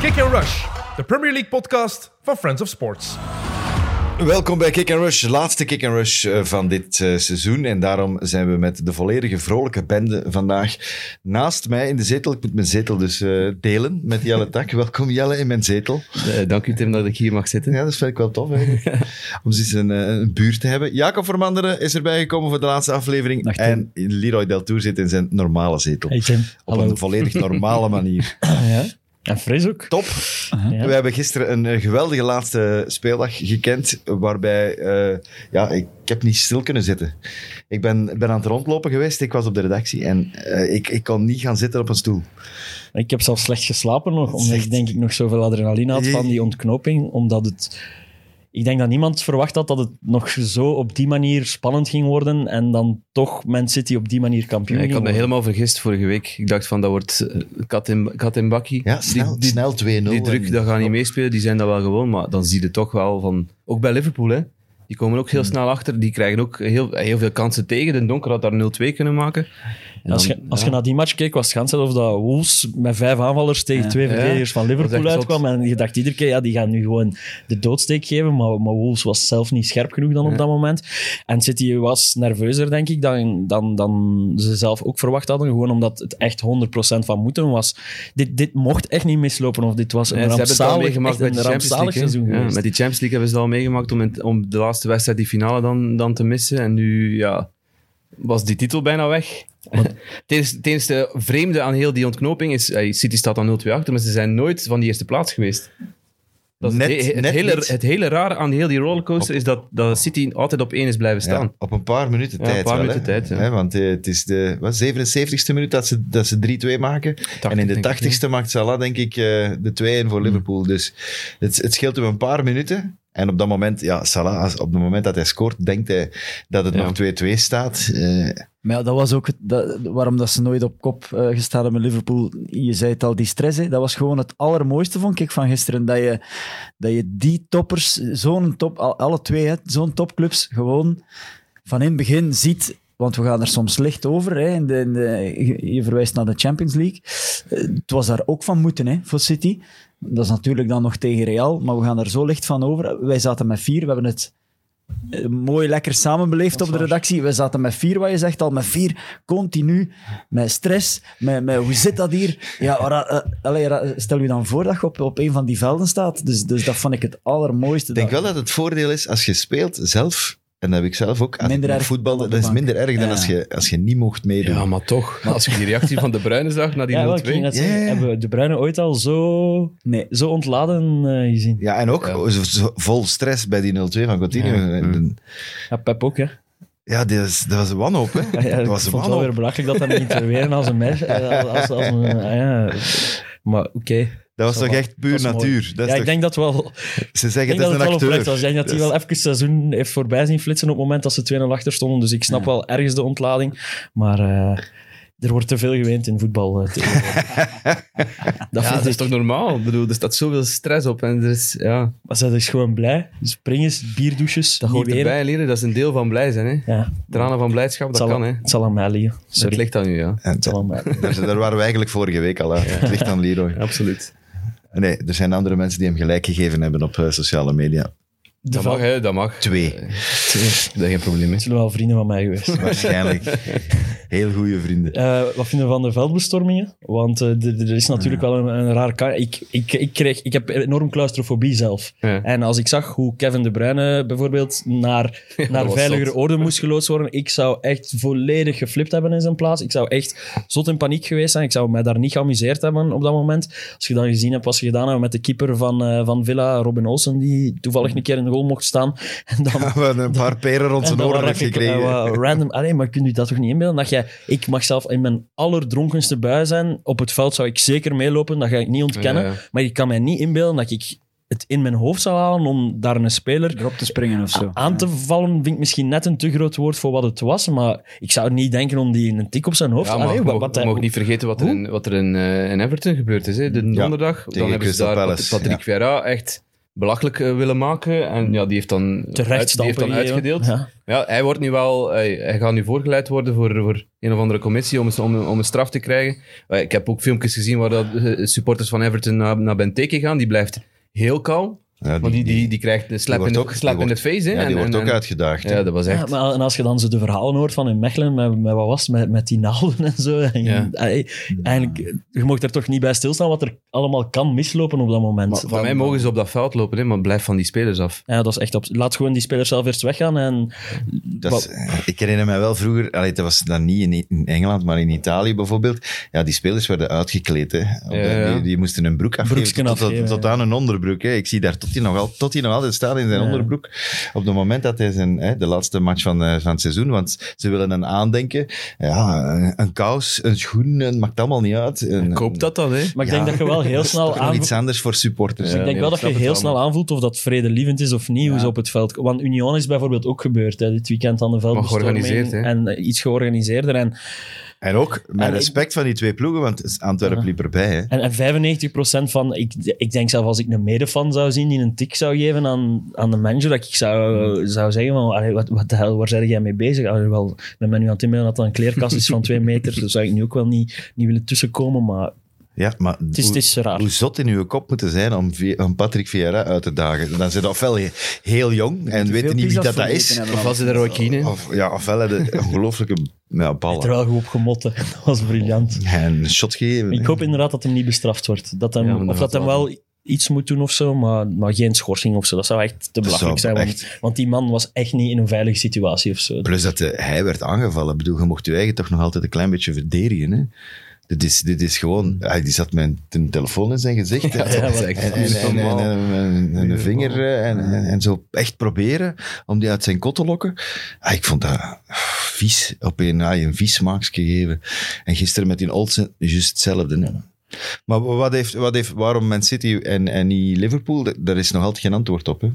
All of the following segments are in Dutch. Kick and Rush, de Premier League podcast van Friends of Sports. Welkom bij Kick and Rush, laatste Kick and Rush eh, van dit eh, seizoen. En daarom zijn we met de volledige vrolijke bende vandaag naast mij in de zetel. Ik moet mijn zetel dus eh, delen met Jelle Tak. Welkom Jelle in mijn zetel. Eh, dank u Tim dat ik hier mag zitten. Ja, dat vind ik wel tof eigenlijk. Om zoiets een, eh, een buurt te hebben. Jacob Vermanderen is erbij gekomen voor de laatste aflevering. Dag, Tim. en Leroy Deltour zit in zijn normale zetel. Hey Tim. Op een volledig normale manier. Ja. En fris ook. Top. Ja. We hebben gisteren een eh, geweldige laatste speeldag gekend, waarbij eh, ja, ik, ik heb niet stil kunnen zitten. Ik ben, ik ben aan het rondlopen geweest, ik was op de redactie en eh, ik, ik kon niet gaan zitten op een stoel. Ik heb zelfs slecht geslapen nog, omdat echt- ik denk ik nog zoveel adrenaline had van die ontknoping. Omdat het... Ik denk dat niemand verwacht had dat het nog zo op die manier spannend ging worden en dan toch Man City op die manier kampioen Ja, ik ging had me worden. helemaal vergist vorige week. Ik dacht van, dat wordt eh, kat in, kat in bakkie. Ja, snel, die, die, snel 2-0. die druk, en- dat gaan niet meespelen. Die zijn dat wel gewoon, maar dan zie je toch wel van... Ook bij Liverpool, hè. Die komen ook heel Hmm. snel achter. Die krijgen ook heel, heel veel kansen tegen. De Donker had daar 0-2 kunnen maken. En als, dan- je, als je ja. naar die match keek, was het gans of dat Wolves met vijf aanvallers tegen twee Ja. verdedigers van Liverpool echt zot. uitkwam. En je dacht iedere keer, ja, die gaan nu gewoon de doodsteek geven. Maar, maar Wolves was zelf niet scherp genoeg dan op dat moment. En City was nerveuzer, denk ik, dan, dan, dan ze zelf ook verwacht hadden. Gewoon omdat het echt 100% van moeten was. Dit, dit mocht echt niet mislopen. Of dit was een Ja, ze hebben het al rampzalig, meegemaakt echt bij een de Champions rampzalig League. hè. seizoen Ja, geweest. met die Champions League hebben ze dat al meegemaakt om, in- om de laatste wedstrijd, die finale, dan, dan te missen. En nu ja, was die titel bijna weg. Het enige- het enige vreemde aan heel die ontknoping is, eh, City staat dan 0-2 achter, maar ze zijn nooit van die eerste plaats geweest. Dat is Net- het, he- het net hele, niet. het hele rare aan heel die rollercoaster is dat, dat City altijd op één is blijven Ja, staan. op een paar minuten Ja, tijd. een paar wel, hè. minuten tijd, ja. Hè, want eh, het is de wat, 77ste minuut dat ze, dat ze 3-2 maken. en in denk de ik, Hmm. 80ste maakt Salah, denk ik, eh, de 2-1 voor Liverpool. Dus het, het scheelt hem een paar minuten. En op dat moment, ja, Salah, als- op het moment dat hij scoort, denkt hij dat het Ja. nog 2-2 staat. Eh, Maar ja, dat was ook het- dat, waarom dat ze nooit op kop eh, gestaan hebben met Liverpool. Je zei het al, die stress. Hè, dat was gewoon het allermooiste, vond ik, van gisteren. Dat je, dat je die toppers, zo'n top, al- alle twee, hè, zo'n topclubs, gewoon van in het begin ziet. Want we gaan er soms licht over. Hè, in de, in de- je- je verwijst naar de Champions League. Eh, Het was daar ook van moeten hè, voor City. Dat is natuurlijk dan nog tegen Real, maar we gaan daar zo licht van over. Wij zaten met vier, we hebben het eh, mooi lekker samenbeleefd op de redactie. We zaten met vier, wat je zegt al, met vier, continu, met stress, met, met hoe zit dat hier? Ja, ra- eh, allee, ra- stel je dan voor dat je op, op een van die velden staat. Dus, dus dat vond ik het allermooiste. Ik denk dat- wel dat het voordeel is als je speelt zelf. En dat heb ik zelf ook. Als Minder ik erg voetbal, dan op dat de is bank. minder erg dan Ja. als, je, als je niet mocht meedoen. Ja, maar toch. Als je die reactie van De Bruyne zag na die Ja, wel, 0-2... ik ging net Ja, zeggen, ja, ja. Hebben we De Bruyne ooit al zo, Nee, zo ontladen eh, gezien? Ja, en ook Ja. zo- zo- vol stress bij die 0-2 van Coutinho. Ja. Hmm. En- Ja, Pep ook, hè? Ja, dit was- dat was een wanhoop, hè? Ja, dat ik was een vond het wel weer wanhoop. belachelijk dat dat niet interweren als een mes. eh, Als, als een, eh, ja. Maar oké. Dat was Zo toch wat. echt puur Dat is mooi. natuur. Dat Ja, is ik toch- denk dat wel. Ze Ik zeggen denk het dat is het een wel oprecht acteur. was. Ik denk dat hij wel even het seizoen heeft voorbij zien flitsen op het moment dat ze 2-0 achter stonden. Dus ik snap wel ergens de ontlading. Maar eh, er wordt te veel geweend in voetbal. eh, tegenwoordig. dat Ja, vind dat ik. is toch normaal? Ik bedoel, er staat zoveel stress op. En er is, ja, Maar zij is gewoon blij. Springers, bierdouches, dat hoort niet weren. erbij leren. Dat is een deel van blij zijn. Hè. Ja, Tranen van blijdschap, het dat zal, kan. Hè. het zal aan mij liggen. Sorry, Dat ligt aan u, ja. En het zal aan mij liggen. daar, daar waren we eigenlijk vorige week al. Hè. Het ligt aan Leroy. Absoluut. Nee, er zijn andere mensen die hem gelijk gegeven hebben op eh, sociale media. De Dat mag, val- hè, dat mag. Twee, Dat is geen probleem. Hè. Het zullen wel vrienden van mij geweest. waarschijnlijk. Heel goede vrienden. Eh, wat vinden we van de veldbestormingen? Want eh, d- d- er is natuurlijk wel een, een raar... ka- Ik, ik, ik, kreeg, ik heb enorm claustrofobie zelf. Ja. En als ik zag hoe Kevin De Bruyne bijvoorbeeld naar, naar was veiligere zot. orde moest geloodst worden, ik zou echt volledig geflipt hebben in zijn plaats. Ik zou echt zot in paniek geweest zijn. Ik zou mij daar niet geamuseerd hebben op dat moment. Als je dan gezien hebt wat ze gedaan hebben met de keeper van, eh, van Villa, Robin Olsen, die toevallig een keer in de goal mocht staan. En dan We hebben een paar peren rond zijn en dan oren heeft raak ik, eh, gekregen. wat random. Allee, maar kunt u dat toch niet inbeelden? Dat jij, ik mag zelf in mijn allerdronkenste bui zijn. Op het veld zou ik zeker meelopen, dat ga ik niet ontkennen. Ja, ja. Maar ik kan mij niet inbeelden dat ik het in mijn hoofd zou halen om daar een speler erop te springen of Ah, zo. aan te vallen. Vind ik misschien net een te groot woord voor wat het was. Maar ik zou niet denken om die een tik op zijn hoofd. Ja, maar Allee, we wat, mogen- wat we hij- mogen niet vergeten wat er, Hoe? in, wat er in, eh, in Everton gebeurd is. Hè. De donderdag, dan hebben ze Crystal daar Palace, Pat- Patrick Vieira echt belachelijk eh, willen maken. En ja, die heeft dan, Terecht die heeft stampen dan hier, uitgedeeld. joh. Ja. Ja, hij, wordt nu wel, hij, hij gaat nu voorgeleid worden voor, voor een of andere commissie om, een- om, een- om een straf te krijgen. Eh, Ik heb ook filmpjes gezien waar dat, eh, supporters van Everton naar, naar Benteke gaan. Die blijft heel kalm. Ja, want die, die, die krijgt een slap, wordt in de, ook- die slap in wordt- de face. hè. ja, die En- wordt en- ook en- uitgedaagd. hè. Ja, dat was echt... Ja, maar en als je dan zo de verhalen hoort van in Mechelen, met, met wat was het, met, met die naalden en zo. En, Ja. ey, eigenlijk, je mocht er toch niet bij stilstaan wat er allemaal kan mislopen op dat moment. Maar van mij mogen ze op dat veld lopen, hè, maar blijf van die spelers af. Ja, dat is echt op... Laat gewoon die spelers zelf eerst weggaan en... Dat is- eh, ik herinner mij wel vroeger, allee, dat was dan niet in, in Engeland, maar in Italië bijvoorbeeld. Ja, die spelers werden uitgekleed. Hè. Op de- ja. Die, die moesten hun broek afgeven, Broeksken tot, afgeven, tot, tot aan hun onderbroek. Hè. Ik zie daar tot hij nog, al, tot die nog altijd staat in zijn Ja. onderbroek. Op het moment dat hij zijn, hè, de laatste match van, eh, van het seizoen, want ze willen een aandenken. Ja, een, een kous, een schoen, het maakt allemaal niet uit. Een, Koop dat dan, hè. Maar ik denk dat je wel heel dat is snel toch nog aan... iets anders voor supporters. ik denk nee, wel ik dat je snap het heel wel, snel aanvoelt of dat vredelievend is of niet, hoe ze op het veld... Want Union is bijvoorbeeld ook gebeurd, hè, dit weekend aan de veldbestorming. georganiseerd, hè. En eh, iets georganiseerder. En En ook met En ik- respect van die twee ploegen, want Antwerpen liep erbij. Hè. En, en 95% van, ik, ik denk zelf als ik een medefan zou zien die een tik zou geven aan, aan de manager, dat ik zou, zou zeggen van, allee, wat, wat de hel, waar zijn jij mee bezig? Allee, wel, ik ben me nu aan het inbeelden dat dat een kleerkast is van twee meter, daar zou ik nu ook wel niet, niet willen tussenkomen, maar Ja, maar het is, het is raar. Hoe zot in uw kop moeten zijn om, Vi- om Patrick Vieira uit te dagen. Dan zijn dat ofwel he- heel jong en weten niet wie dat, dat is. Of was het er ook in, hè. Of, ja, ofwel hebben de ongelooflijke ja, Terwijl ballen. je op gemotten, dat was briljant. En shot gegeven. Ik hoop inderdaad dat hem niet bestraft wordt. Dat hem, Ja, maar of dat dat hem wel. wel iets moet doen of zo, maar, maar geen schorsing of zo. Dat zou echt te belachelijk zou zijn, want, want die man was echt niet in een veilige situatie of zo. Plus dat de- hij werd aangevallen. Ik bedoel, je mocht je eigen toch nog altijd een klein beetje verdedigen. Hè? Dit, is, dit is gewoon... Hij die zat mijn een telefoon in zijn gezicht. Ja, Dat is maar- echt En, en, en, en, normaal. en- en- en een vinger eh, en, en, en zo echt proberen om die uit zijn kot te lokken. Ah, ik vond dat ah, vies. Op een, ah, een vies smaakje gegeven. En gisteren met die Olsen, juist hetzelfde. hè. Maar wa- wat heeft, wat heeft, waarom Man City en, en niet Liverpool? Da- Daar is nog altijd geen antwoord op. Hè?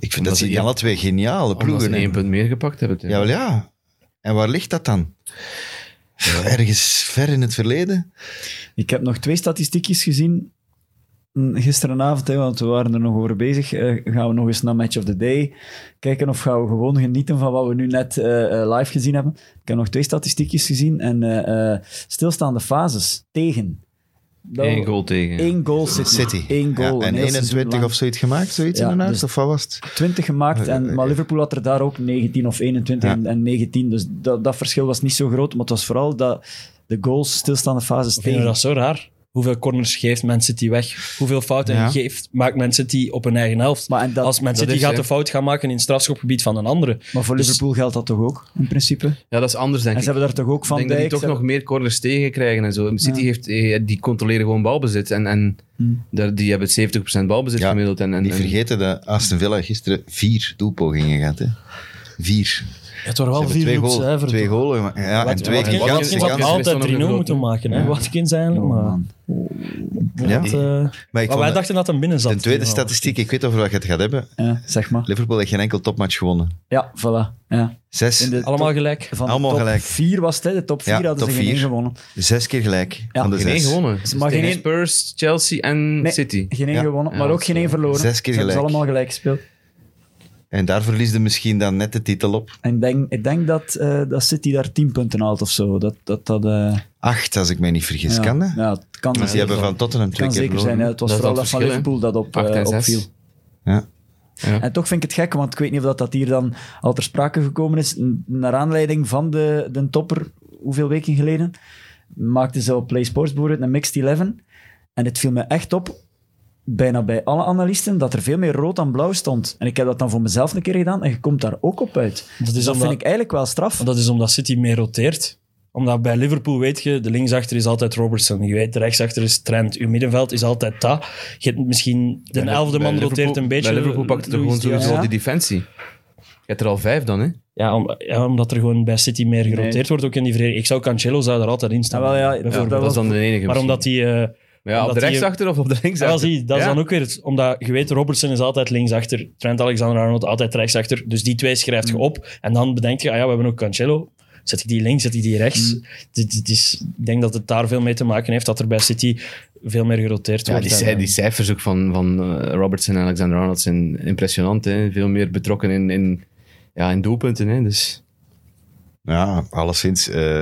Ik vind dat ze zijn één- alle twee geniale Omdat ploegen. ze hè. één punt meer gepakt hebben. Jawel, ja. En waar ligt dat dan? Ergens ver in het verleden? Ik heb nog twee statistiekjes gezien mm, gisterenavond, hè, want we waren er nog over bezig. Eh, gaan we nog eens naar Match of the Day kijken of gaan we gewoon genieten van wat we nu net eh, eh, live gezien hebben? Ik heb nog twee statistiekjes gezien en eh, eh, stilstaande fases tegen. Dat- Eén goal tegen. één goal City. City. Eén goal. Ja, en een heel seizoen 21 lang. of zoiets gemaakt, zoiets Ja, inderdaad? dus- Of wat was het? 20 gemaakt, en, maar Liverpool had er daar ook 19 of 21 Ja. en, en 19. Dus dat, dat verschil was niet zo groot, maar het was vooral dat de goals, stilstaande fases Ik vind tegen. dat zo raar. Hoeveel corners geeft Man City weg? Hoeveel fouten Ja. geeft, maakt Man City op hun eigen helft? Maar, en dat, Als Man dat City is, gaat hè. de fout gaan maken in het strafschopgebied van een andere. maar voor dus- Liverpool geldt dat toch ook, in principe? Ja, dat is anders, denk En ik. ze hebben daar toch ook Ik van denk dat die Dijk... toch ze- nog meer corners tegen krijgen en zo. City Ja. heeft, eh, die controleren gewoon balbezit. En, en Hmm. daar, die hebben 70% balbezit Ja, gemiddeld. En, en, Niet en- vergeten dat Aston Villa gisteren vier doelpogingen had. Hè? Vier. Het waren Ze wel hebben vier twee op goals. cijfer. Twee goals. gemaakt. Ja, en Wat- twee Watkins- kansen, gigantische Watkins had kansen. kansen. altijd 3-0 moeten Ja. maken. hè. Watkins eigenlijk, Oh, maar... man. Ja. dat, eh, Maar ik maar vond wij dat- dachten dat hem binnen zat. de tweede Ja. statistiek, ik weet of wat je het gaat hebben. Ja, zeg maar. Liverpool heeft geen enkel topmatch gewonnen. Ja, voilà. Ja. Zes, In de Allemaal top- gelijk. van de Allemaal top gelijk. vier was het, hè. de top Ja, vier hadden top ze geen vier. één gewonnen. zes keer gelijk van de Geen één zes. gewonnen. maar Tegen geen één- Spurs, Chelsea en Nee, City. Geen één Ja. gewonnen, Ja, maar dat ook is geen één verloren. Zes keer Ze hebben ze gelijk. allemaal gelijk gespeeld. En daar verliesde misschien dan net de titel op. En ik denk, ik denk dat, eh, dat City daar 10 punten haalt of zo. Dat, dat, dat, eh, Acht, als ik mij niet vergis, ja. kan hè? Ja, het kan Dus die hebben zeker van Tottenham Het twee kan keer zeker zijn. hè. verloren. Het was Dat is vooral dat dat van verschil, hè. Liverpool dat op, Acht en eh, zes. opviel. Ja. En toch vind ik het gek, want ik weet niet of dat, dat hier dan al ter sprake gekomen is. N- Naar aanleiding van de, de topper, hoeveel weken geleden, maakten ze op Play Sports bijvoorbeeld een Mixed 11. En het viel me echt op, bijna bij alle analisten, dat er veel meer rood dan blauw stond. En ik heb dat dan voor mezelf een keer gedaan en je komt daar ook op uit. Dat is Dus dat omdat- vind ik eigenlijk wel straf. Maar Dat is omdat City meer roteert. Omdat bij Liverpool weet je, de linksachter is altijd Robertson. Je weet, de rechtsachter is Trent. Uw middenveld is altijd dat. Je hebt misschien de elfde Bij man roteert Liverpool- een beetje. Bij Liverpool pakt het er Luis gewoon Diaz. sowieso Ja. al die defensie. Je hebt er al vijf dan, hè? Ja, om- ja, omdat er gewoon bij City meer geroteerd wordt, ook in die vereniging. Ik zou Cancelo zou er altijd in staan. Ah, wel, ja, dat bijvoorbeeld. dat, was- is dan de enige. maar misschien. omdat die... eh, Maar ja, op omdat de die- rechtsachter of op de ja, wel linksachter? zie, dat is Ja. dan ook weer... het- Omdat je weet, Robertson is altijd linksachter. Trent Alexander-Arnold altijd rechtsachter. Dus die twee schrijft Mm. je op. En dan bedenk je, ah ja, we hebben ook Cancelo. Mm. Zet ik die links, zet ik die rechts? Dit, dit is, ik denk dat het daar veel mee te maken heeft dat er bij City veel meer geroteerd Ja, wordt. die, En, cij- eh, die cijfers ook van, van eh, Robertson en Alexander Arnold zijn impressionant. Hè? Veel meer betrokken in, in, ja, in doelpunten. Hè? Dus, Ja, alleszins. eh,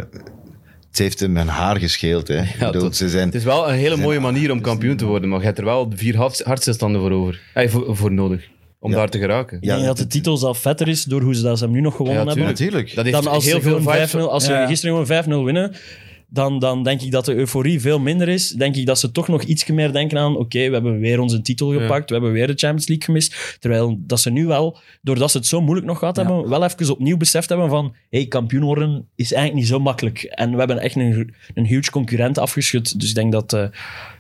het heeft hem een haar gescheeld. Hè. Ik bedoel, tot- ze zijn, het is wel een hele Zijn- dus mooie manier om kampioen te worden, maar je hebt er wel vier hart- hartstilstanden voor, over, eh, voor, voor nodig. Om Ja. daar te geraken. Ja, ik denk dat de titel zelf vetter is door hoe ze dat ze hem nu nog gewonnen Ja, hebben. tuurlijk. natuurlijk. Dat heeft Dan als, heel ze, veel gewoon vibes. 5-0 als Ja. ze gisteren gewoon 5-0 winnen, dan, dan denk ik dat de euforie veel minder is. Denk ik dat ze toch nog iets meer denken aan: oké, we hebben weer onze titel gepakt, we hebben weer de Champions League gemist. Terwijl dat ze nu wel, doordat ze het zo moeilijk nog gehad hebben, wel even opnieuw beseft hebben van: hé, hey, kampioen worden is eigenlijk niet zo makkelijk. En we hebben echt een, een huge concurrent afgeschud. Dus ik denk dat eh,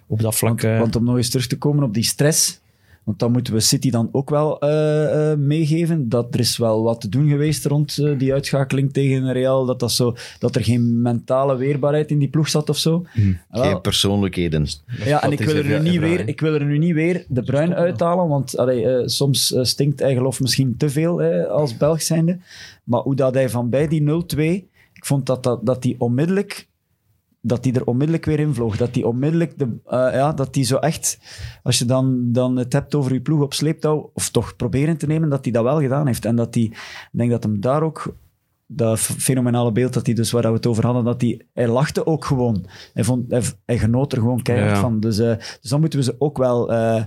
op dat vlak. Want, eh, want om nog eens terug te komen op die stress. Want dan moeten we City dan ook wel eh, eh, meegeven. Dat er is wel wat te doen geweest rond eh, die uitschakeling tegen Real. Dat, dat, zo, dat er geen mentale weerbaarheid in die ploeg zat of zo. Wel, Geen persoonlijkheden. ja, en dat ik is wil, er een nu niet vraag, hè. weer, ik wil er nu niet weer de bruin uithalen. Want allee, eh, soms eh, stinkt eigen lof misschien te veel eh, als Belg zijnde. Maar hoe dat hij van bij die 0-2... Ik vond dat, dat, dat die onmiddellijk dat die er onmiddellijk weer in vloog. Dat die onmiddellijk, de, eh, ja, dat die zo echt, als je dan, dan het hebt over je ploeg op sleeptouw, of toch proberen te nemen, dat hij dat wel gedaan heeft. En dat die, ik denk dat hem daar ook, dat f- fenomenale beeld dat hij dus, waar we het over hadden, dat die, hij lachte ook gewoon. Hij, vond, hij, hij genoot er gewoon keihard Ja. van. Dus, eh, dus dan moeten we ze ook wel eh,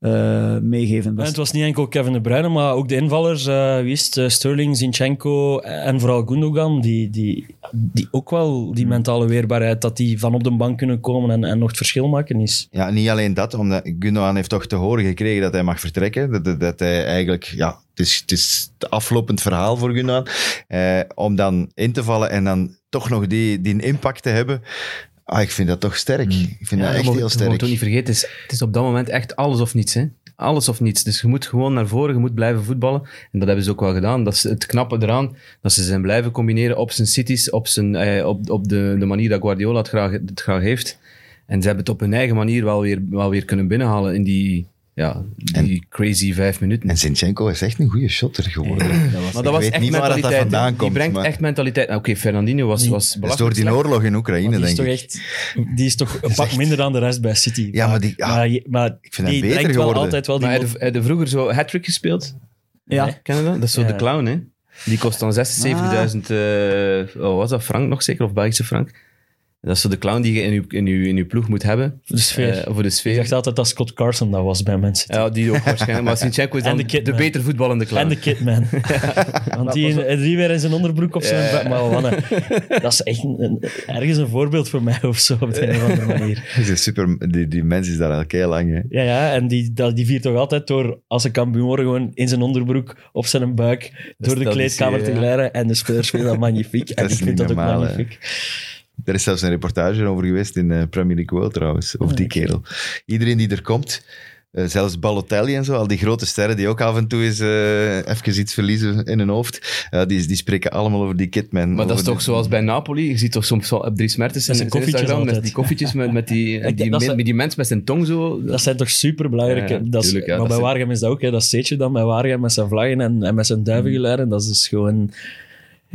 eh, meegeven. Dat En is- het was niet enkel Kevin De Bruyne, maar ook de invallers. eh wie is het? Eh, Sterling, Zinchenko en vooral Gundogan. Die, die, die ook wel die mentale weerbaarheid, dat die van op de bank kunnen komen en, en nog het verschil maken is. Ja, niet alleen dat, omdat Gundogan heeft toch te horen gekregen dat hij mag vertrekken. Dat, dat, dat hij eigenlijk, ja, het is, het is het aflopend verhaal voor Gundogan. Eh, om dan in te vallen en dan toch nog die, die impact te hebben. Ah, ik vind dat toch sterk. Ik vind Ja, dat echt je mag- heel Je moet sterk. ook niet vergeten, het is, het is op dat moment echt alles of niets. Hè? Alles of niets. Dus je moet gewoon naar voren, je moet blijven voetballen. En dat hebben ze ook wel gedaan. Dat is het knappe eraan, dat ze zijn blijven combineren op zijn cities, op, zijn, eh, op, op de, de manier dat Guardiola het graag, het graag heeft. En ze hebben het op hun eigen manier wel weer, wel weer kunnen binnenhalen in die, ja, die crazy vijf minuten. En Zinchenko is echt een goede shotter geworden. maar ik dat was weet echt niet waar dat mentaliteit. vandaan die komt, brengt maar- echt mentaliteit. Nou, Oké, Fernandinho was, was Dat is door belachelijk die slecht. oorlog in Oekraïne, Maar die, is denk toch ik. echt, die is toch een pak minder dan de rest bij City. Ja, maar die- ja, maar, je- maar vind die hem beter brengt wel geworden. altijd wel die... Maar hij heeft- hij heeft vroeger zo hat-trick gespeeld. ja. Hè, Ken je dat? Dat is zo Ja. Ah. de clown, hè? Die kost dan 76.000, eh, oh, was dat frank nog zeker? Of Belgische frank? Dat is zo de clown die je in je, in je, in je ploeg moet hebben. de sfeer. eh, voor de Dus, ik sfeer. dacht altijd dat Scott Carson dat was bij Man City. Ja, die ook waarschijnlijk. Maar Sinchenko is En dan de de, Kidman. beter voetballende clown. En de Kidman. Want die, die weer in zijn onderbroek op zijn bed. Maar wat een- dat is echt een- een- ergens een voorbeeld voor mij of zo, op de een of andere manier. Die, super, die, die mens is daar al heel lang. Hè. Ja, ja en die, dat- die viert toch altijd door, als ze kampioen worden, gewoon in zijn onderbroek, op zijn buik, door de dat kleedkamer is, te ja. glijden. En de spelers vinden dat magnifiek. en is ik vind niet dat ook normaal, hè. magnifiek. Er is zelfs een reportage over geweest in eh, Premier League World trouwens, over die kerel. Iedereen die er komt, eh, zelfs Balotelli en zo, al die grote sterren die ook af en toe eens eh, even iets verliezen in hun hoofd, ja, die, die spreken allemaal over die Kidman. maar dat is Oh, Over toch de- zoals bij Napoli. Je ziet toch soms wel op Dries Mertens in Met zijn zijn koffietjes Instagram met altijd. die koffietjes, met, met, die, denk die, dat men- ze- met die mens met zijn tong zo. Dat zijn toch superbelangrijke... Ja, ja, dat is, tuurlijk, ja, dat maar bij zijn- Waregem is dat ook, hè. dat zeetje dan bij Waregem met zijn vlaggen en, en met zijn duivengeluiden. Dat is dus gewoon...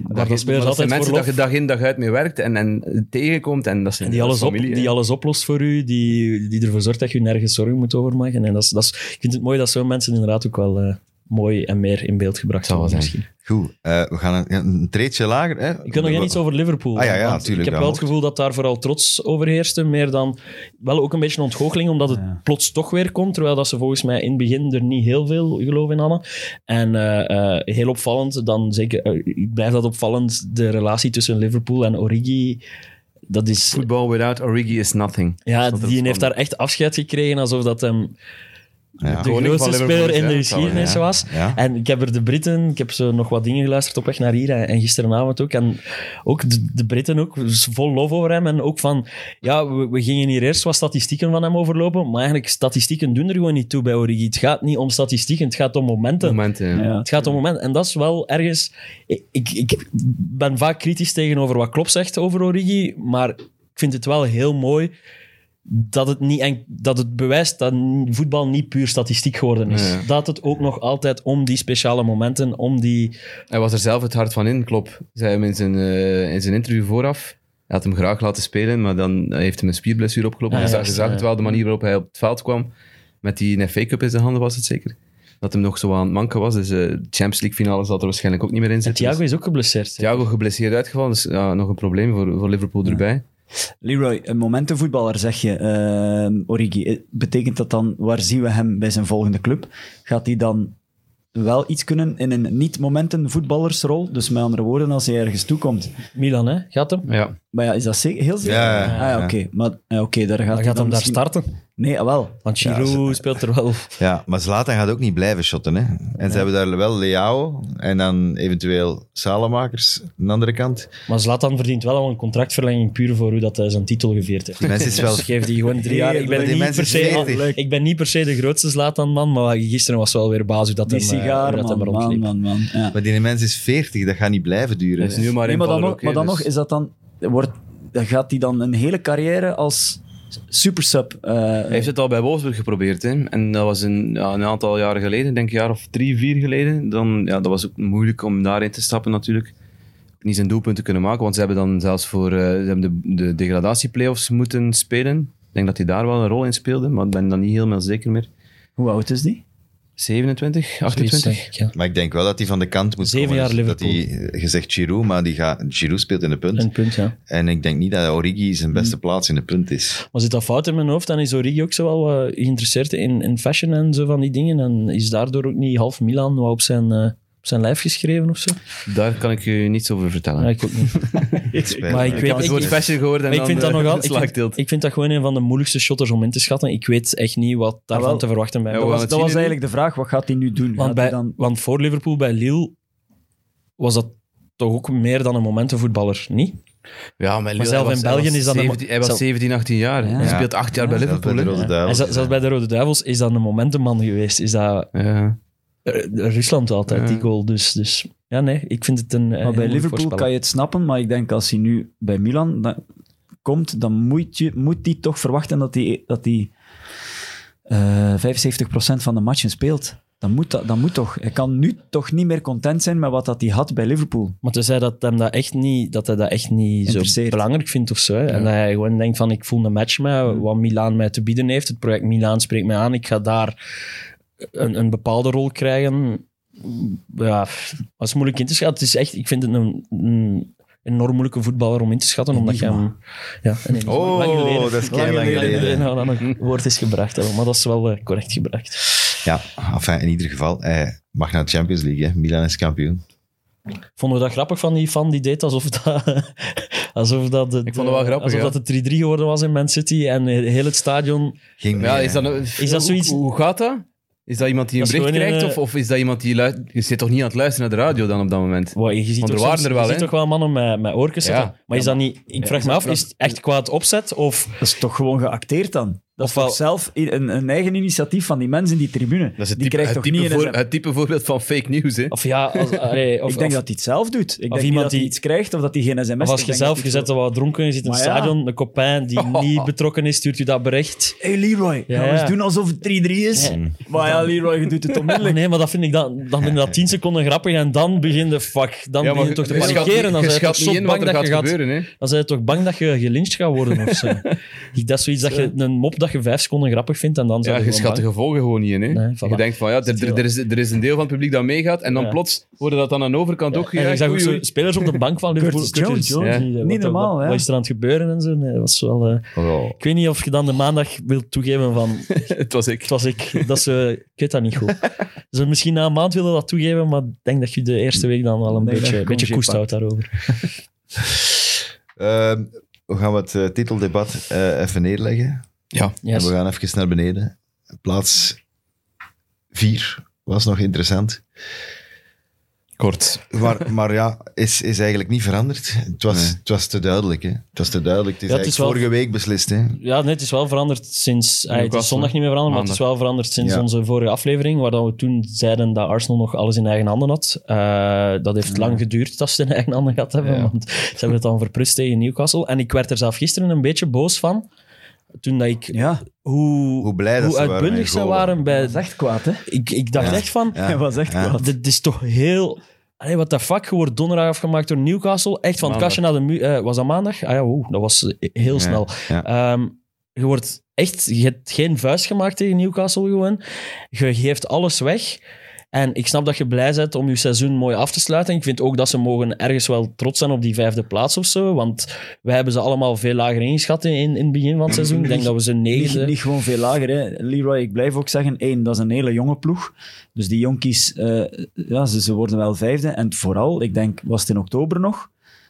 Waar de Mm. maar spelers dat zijn altijd mensen voor dat je lof. dag in dag uit mee werkt en, en tegenkomt. En dat zijn Die alles, op, familie, hè. die alles oplost voor u, die, die ervoor zorgt dat je nergens zorgen moet over maken. En dat is, dat is, ik vind het mooi dat zo'n mensen inderdaad ook wel eh, mooi en meer in beeld gebracht Zou wel worden. zijn. Misschien. Goed, eh, we gaan een, een treetje lager. Hè? Ik wil nog We- geen iets over Liverpool. Ah, ja, ja, want tuurlijk, Ik heb dat wel mocht. het gevoel dat daar vooral trots over heerste. Meer dan wel ook een beetje een ontgoocheling, omdat het plots toch weer komt. Terwijl dat ze volgens mij in het begin er niet heel veel geloof in hadden. En eh, eh, heel opvallend, dan zeker, eh, ik blijf dat opvallend, de relatie tussen Liverpool en Origi. Dat is Football without Origi is nothing. Ja, Stond er die van. heeft daar echt afscheid gekregen alsof dat hem Ja. de Koning grootste van Liverpool speler is, in de hè, dat wel, geschiedenis ja. was. Ja. En ik heb er de Britten, ik heb zo nog wat dingen geluisterd op weg naar hier en, en gisteravond ook. En ook de, de Britten ook, dus vol lof over hem. En ook van, ja, we, we gingen hier eerst wat statistieken van hem overlopen, maar eigenlijk statistieken doen er gewoon niet toe bij Origi. Het gaat niet om statistieken, het gaat om momenten. Momenten, ja. Ja. Het gaat om moment. En dat is wel ergens. Ik, ik, ik ben vaak kritisch tegenover wat Klopp zegt over Origi. Maar ik vind het wel heel mooi dat het, niet en, dat het bewijst dat voetbal niet puur statistiek geworden is. Nee. Dat het ook nog altijd om die speciale momenten, om die. Hij was er zelf het hart van in, klopt. Zei hem in zijn, eh, in zijn interview vooraf. Hij had hem graag laten spelen, maar dan heeft hem een spierblessure opgelopen. Ah, dus ja, je juist, zag ja. het wel, de manier waarop hij op het veld kwam. Met die FA Cup in zijn handen was het zeker. Dat hem nog zo aan het manken was. Dus de Champions League finale zal er waarschijnlijk ook niet meer in En zitten. Thiago Dus is ook geblesseerd. hè? Thiago geblesseerd uitgevallen, dus ja, nog een probleem voor, voor Liverpool erbij. Leroy, een momentenvoetballer zeg je, ehm, Origi. Eh, Betekent dat dan, waar zien we hem bij zijn volgende club? Gaat hij dan wel iets kunnen in een niet-momentenvoetballersrol? Dus met andere woorden, als hij ergens toekomt. Milan, hè? Gaat hem? Ja. Maar ja, is dat zeker? heel zeker? Ja, ja, ah, ja, ja. oké. Maar ja, oké, daar gaat, Dan hij gaat hem dan daar misschien- starten. Nee, ah, wel. Want Giroud speelt er wel. Ja, maar Zlatan gaat ook niet blijven shotten. Hè? En ze hebben daar wel Leao en dan eventueel Salemakers aan de andere kant. Maar Zlatan verdient wel al een contractverlenging puur voor hoe dat hij zijn titel gevierd heeft. Die mens is wel... Dus geef die gewoon drie jaar. Ik ben, Die niet mens per is se, Oh, 40. ik ben niet per se de grootste Zlatan-man, maar gisteren was wel weer baas hoe dat Die hem, eh, hoe sigaar, dat hem man, rondliep. man, man, man. Ja. Maar die mens is 40, dat gaat niet blijven duren. Hij is nu maar Nee, maar dan, invaller nog, ook, hè, maar dan dus- nog, is dat dan, wordt, gaat hij dan een hele carrière als supersub? eh Hij heeft het al bij Wolfsburg geprobeerd. Hè? En dat was een, ja, een aantal jaren geleden, ik denk een jaar of drie, vier geleden. Dan, ja, dat was ook moeilijk om daarin te stappen natuurlijk. Niet zijn doelpunt te kunnen maken, want ze hebben dan zelfs voor eh, ze hebben de, de degradatieplayoffs moeten spelen. Ik denk dat hij daar wel een rol in speelde, maar ik ben dan niet helemaal zeker meer. Hoe oud is die? 27, Zoiets, 28? denk ik, ja. Maar ik denk wel dat hij van de kant moet Zeven komen. jaar Dus dat Liverpool. hij- je zegt Giroud, maar die gaat, Giroud speelt in de punt. Een punt, ja. En ik denk niet dat Origi zijn beste Mm. plaats in de punt is. Maar zit dat fout in mijn hoofd, dan is Origi ook zo wel eh, geïnteresseerd in, in fashion en zo van die dingen. En is daardoor ook niet half Milan wat op zijn, eh, op zijn lijf geschreven of zo. Daar kan ik je niets over vertellen. Ja, ik ook niet. Spijt Maar me. ik ik heb weet- het woord fashion gehoord en Maar ik dan vind dat eh, nog de altijd. Ik, slagdeelt. vind- ik vind dat gewoon een van de moeilijkste shotters om in te schatten. Ik weet echt niet wat daarvan Ah, wel. te verwachten bij Ja, mij. we Dat gaan het was, dat zien was nu. eigenlijk de vraag, wat gaat hij nu doen? Want, Gaat hij bij, dan... want voor Liverpool bij Lille was dat toch ook meer dan een momentenvoetballer, niet? Ja, maar, Lille, zelf hij in hij België is dat een- 17 Hij was zelf- 17, 18 jaar. Hij Ja. speelt acht jaar bij Zelfs bij de Liverpool. hè. Rode En Duivels. zelfs zelfs bij de Rode Duivels is dat een momentenman geweest. Is dat Ja. eh, Rusland altijd, Ja. die goal. Dus, dus ja, nee, ik vind het een. eh, Maar bij heel Liverpool voorspelling. kan je het snappen, maar ik denk als hij nu bij Milan da- komt, dan moet, je, moet die toch verwachten dat hij dat die, eh 75% van de matchen speelt. Dan moet, dat, dan moet toch. Hij kan nu toch niet meer content zijn met wat dat hij had bij Liverpool. Maar toen zei dat, hem dat, echt niet, dat hij dat echt niet zo Interesseert. belangrijk vindt of zo. hè. En dat hij gewoon denkt van, ik voel een match met wat Milaan mij te bieden heeft. Het project Milaan spreekt mij aan. Ik ga daar een, een bepaalde rol krijgen. Ja, dat is moeilijk in te schatten. Het is echt, ik vind het een, een enorm moeilijke voetballer om in te schatten, omdat je hem... Ja, een enigma. Oh, Lang geleden. dat is kei lang geleden. Nou, dat nog woord is gebracht, hè. maar dat is wel eh, correct gebracht. Ja, enfin, in ieder geval, hij mag naar de Champions League. Hè. Milan is kampioen. Vonden we dat grappig van die fan die deed alsof dat. alsof dat het, eh, Ik vond het wel grappig, Alsof ja. dat het 3-3 geworden was in Man City en heel het stadion. Ging Ja, mee, is hè. dat, een- Is dat zoiets- Hoe, hoe gaat dat? Is dat iemand die een Dat is bericht gewoon krijgt? een, eh, Of, of is dat iemand die luistert... Je zit toch niet aan het luisteren naar de radio dan op dat moment? Wow, je ziet, Want er toch, waren soms- er wel, je ziet hè? toch wel mannen met, met oorkes Ja. zitten. Maar is dat niet. Ik vraag me af, is het echt kwaad opzet? Of Dat is toch gewoon geacteerd dan? Dat is Ofwel- toch zelf i- een, een eigen initiatief van die mensen in die tribune. Dat is het type, die krijgt het toch type niet in voor- een- het type voorbeeld van fake news, hè? of ja, als, allee, of, Ik denk of- dat hij het zelf doet. Ik denk iemand iemand dat hij die- iets krijgt of dat hij geen sms of als Ik je denk zelf dat je hij zit zo- wat dronken, je zit in het Maar ja. stadion, een copain die niet betrokken is, stuurt u dat bericht. Hey Leroy, Ja, gaan we ja. eens doen alsof het 3-3 is. Ja. Maar ja, Leroy, je doet het Ah, onmiddellijk. nee, maar dat vind ik dan, dan vind ik dat 10 seconden grappig en dan begin je fuck. Dan Ja, begin je toch te panikeren. Dan je ben je toch schat niet zot in wat bang er dat gaat je gaat gebeuren, hè? Dan zijn je toch bang dat je gelyncht gaat worden of zo. Ik- dat is zoiets dat je een mop dat je vijf seconden grappig vindt en dan Ja, zijn je schat de gevolgen gewoon niet in, hè? Nee, voilà. Je denkt van, ja, er, er, er is, er is een deel van het publiek dat meegaat en dan Ja. plots worden dat dan aan de overkant ook En ik gejaagd. zag ook Oei, zo oei. spelers op de bank van Liverpool. Curtis Jones, ja. die, eh, wat- Niet normaal, wat, hè? wat is er aan het gebeuren en zo? Nee, dat was wel, eh, Oh. ik weet niet of je dan de maandag wilt toegeven van Het was ik. het was ik. Dat ze, ik weet dat niet goed. Ze misschien na een maand willen dat toegeven, maar ik denk dat je de eerste week dan wel een Nee, dat beetje, je beetje congé koest pakt. houdt daarover. Ehm, we gaan het eh, titeldebat eh, even neerleggen. Ja. Yes. En we gaan even naar beneden. Plaats 4 was nog interessant. Kort. Maar, maar ja, is, is eigenlijk niet veranderd. Het was, Nee. het was te duidelijk. Hè. Het was te duidelijk. Het is Ja, het eigenlijk is wel- vorige week beslist. Hè. Ja, nee, het is wel veranderd sinds... eh, het Newcastle. is zondag niet meer veranderd, maar het is wel veranderd sinds Ja. onze vorige aflevering, waar dan we toen zeiden dat Arsenal nog alles in eigen handen had. Eh, dat heeft lang geduurd dat ze het in eigen handen gehad hebben, Ja. want ze hebben het dan verprust tegen Newcastle. En ik werd er zelf gisteren een beetje boos van, toen dat ik... Ja, Hoe, Hoe blij dat ze waren uitbundig met ze golen. waren bij... dat is echt kwaad, hè? Ik, ik dacht Ja. echt van... Ja. Dat was echt Ja. kwaad. Dit is toch heel Allee, what the fuck, je wordt donderdag afgemaakt door Newcastle. Echt van het kastje naar de muur. eh, was dat maandag? Ah ja, oeh, dat was eh, heel Ja, snel. ja. Ehm, je wordt echt... Je hebt geen vuist gemaakt tegen Newcastle gewoon. Je geeft alles weg. En ik snap dat je blij bent om je seizoen mooi af te sluiten. Ik vind ook dat ze mogen ergens wel trots zijn op die vijfde plaats of zo. Want wij hebben ze allemaal veel lager ingeschat in, in, in het begin van het seizoen. Ik denk dat we ze Niet, negende... niet gewoon veel lager. Hè. Leroy, ik blijf ook zeggen, één, dat is een hele jonge ploeg. Dus die jonkies, eh, ja, ze, ze worden wel vijfde. En vooral, ik denk, was het in oktober nog?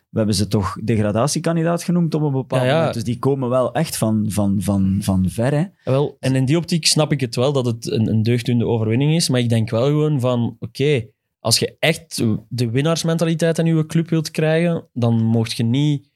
We hebben ze toch degradatiekandidaat genoemd op een bepaald Ja, ja. moment. Dus die komen wel echt van, van, van, van ver. Hè. Wel, en in die optiek snap ik het wel dat het een, een deugddoende overwinning is. Maar ik denk wel gewoon van, oké, als je echt de winnaarsmentaliteit aan je club wilt krijgen, dan mocht je niet,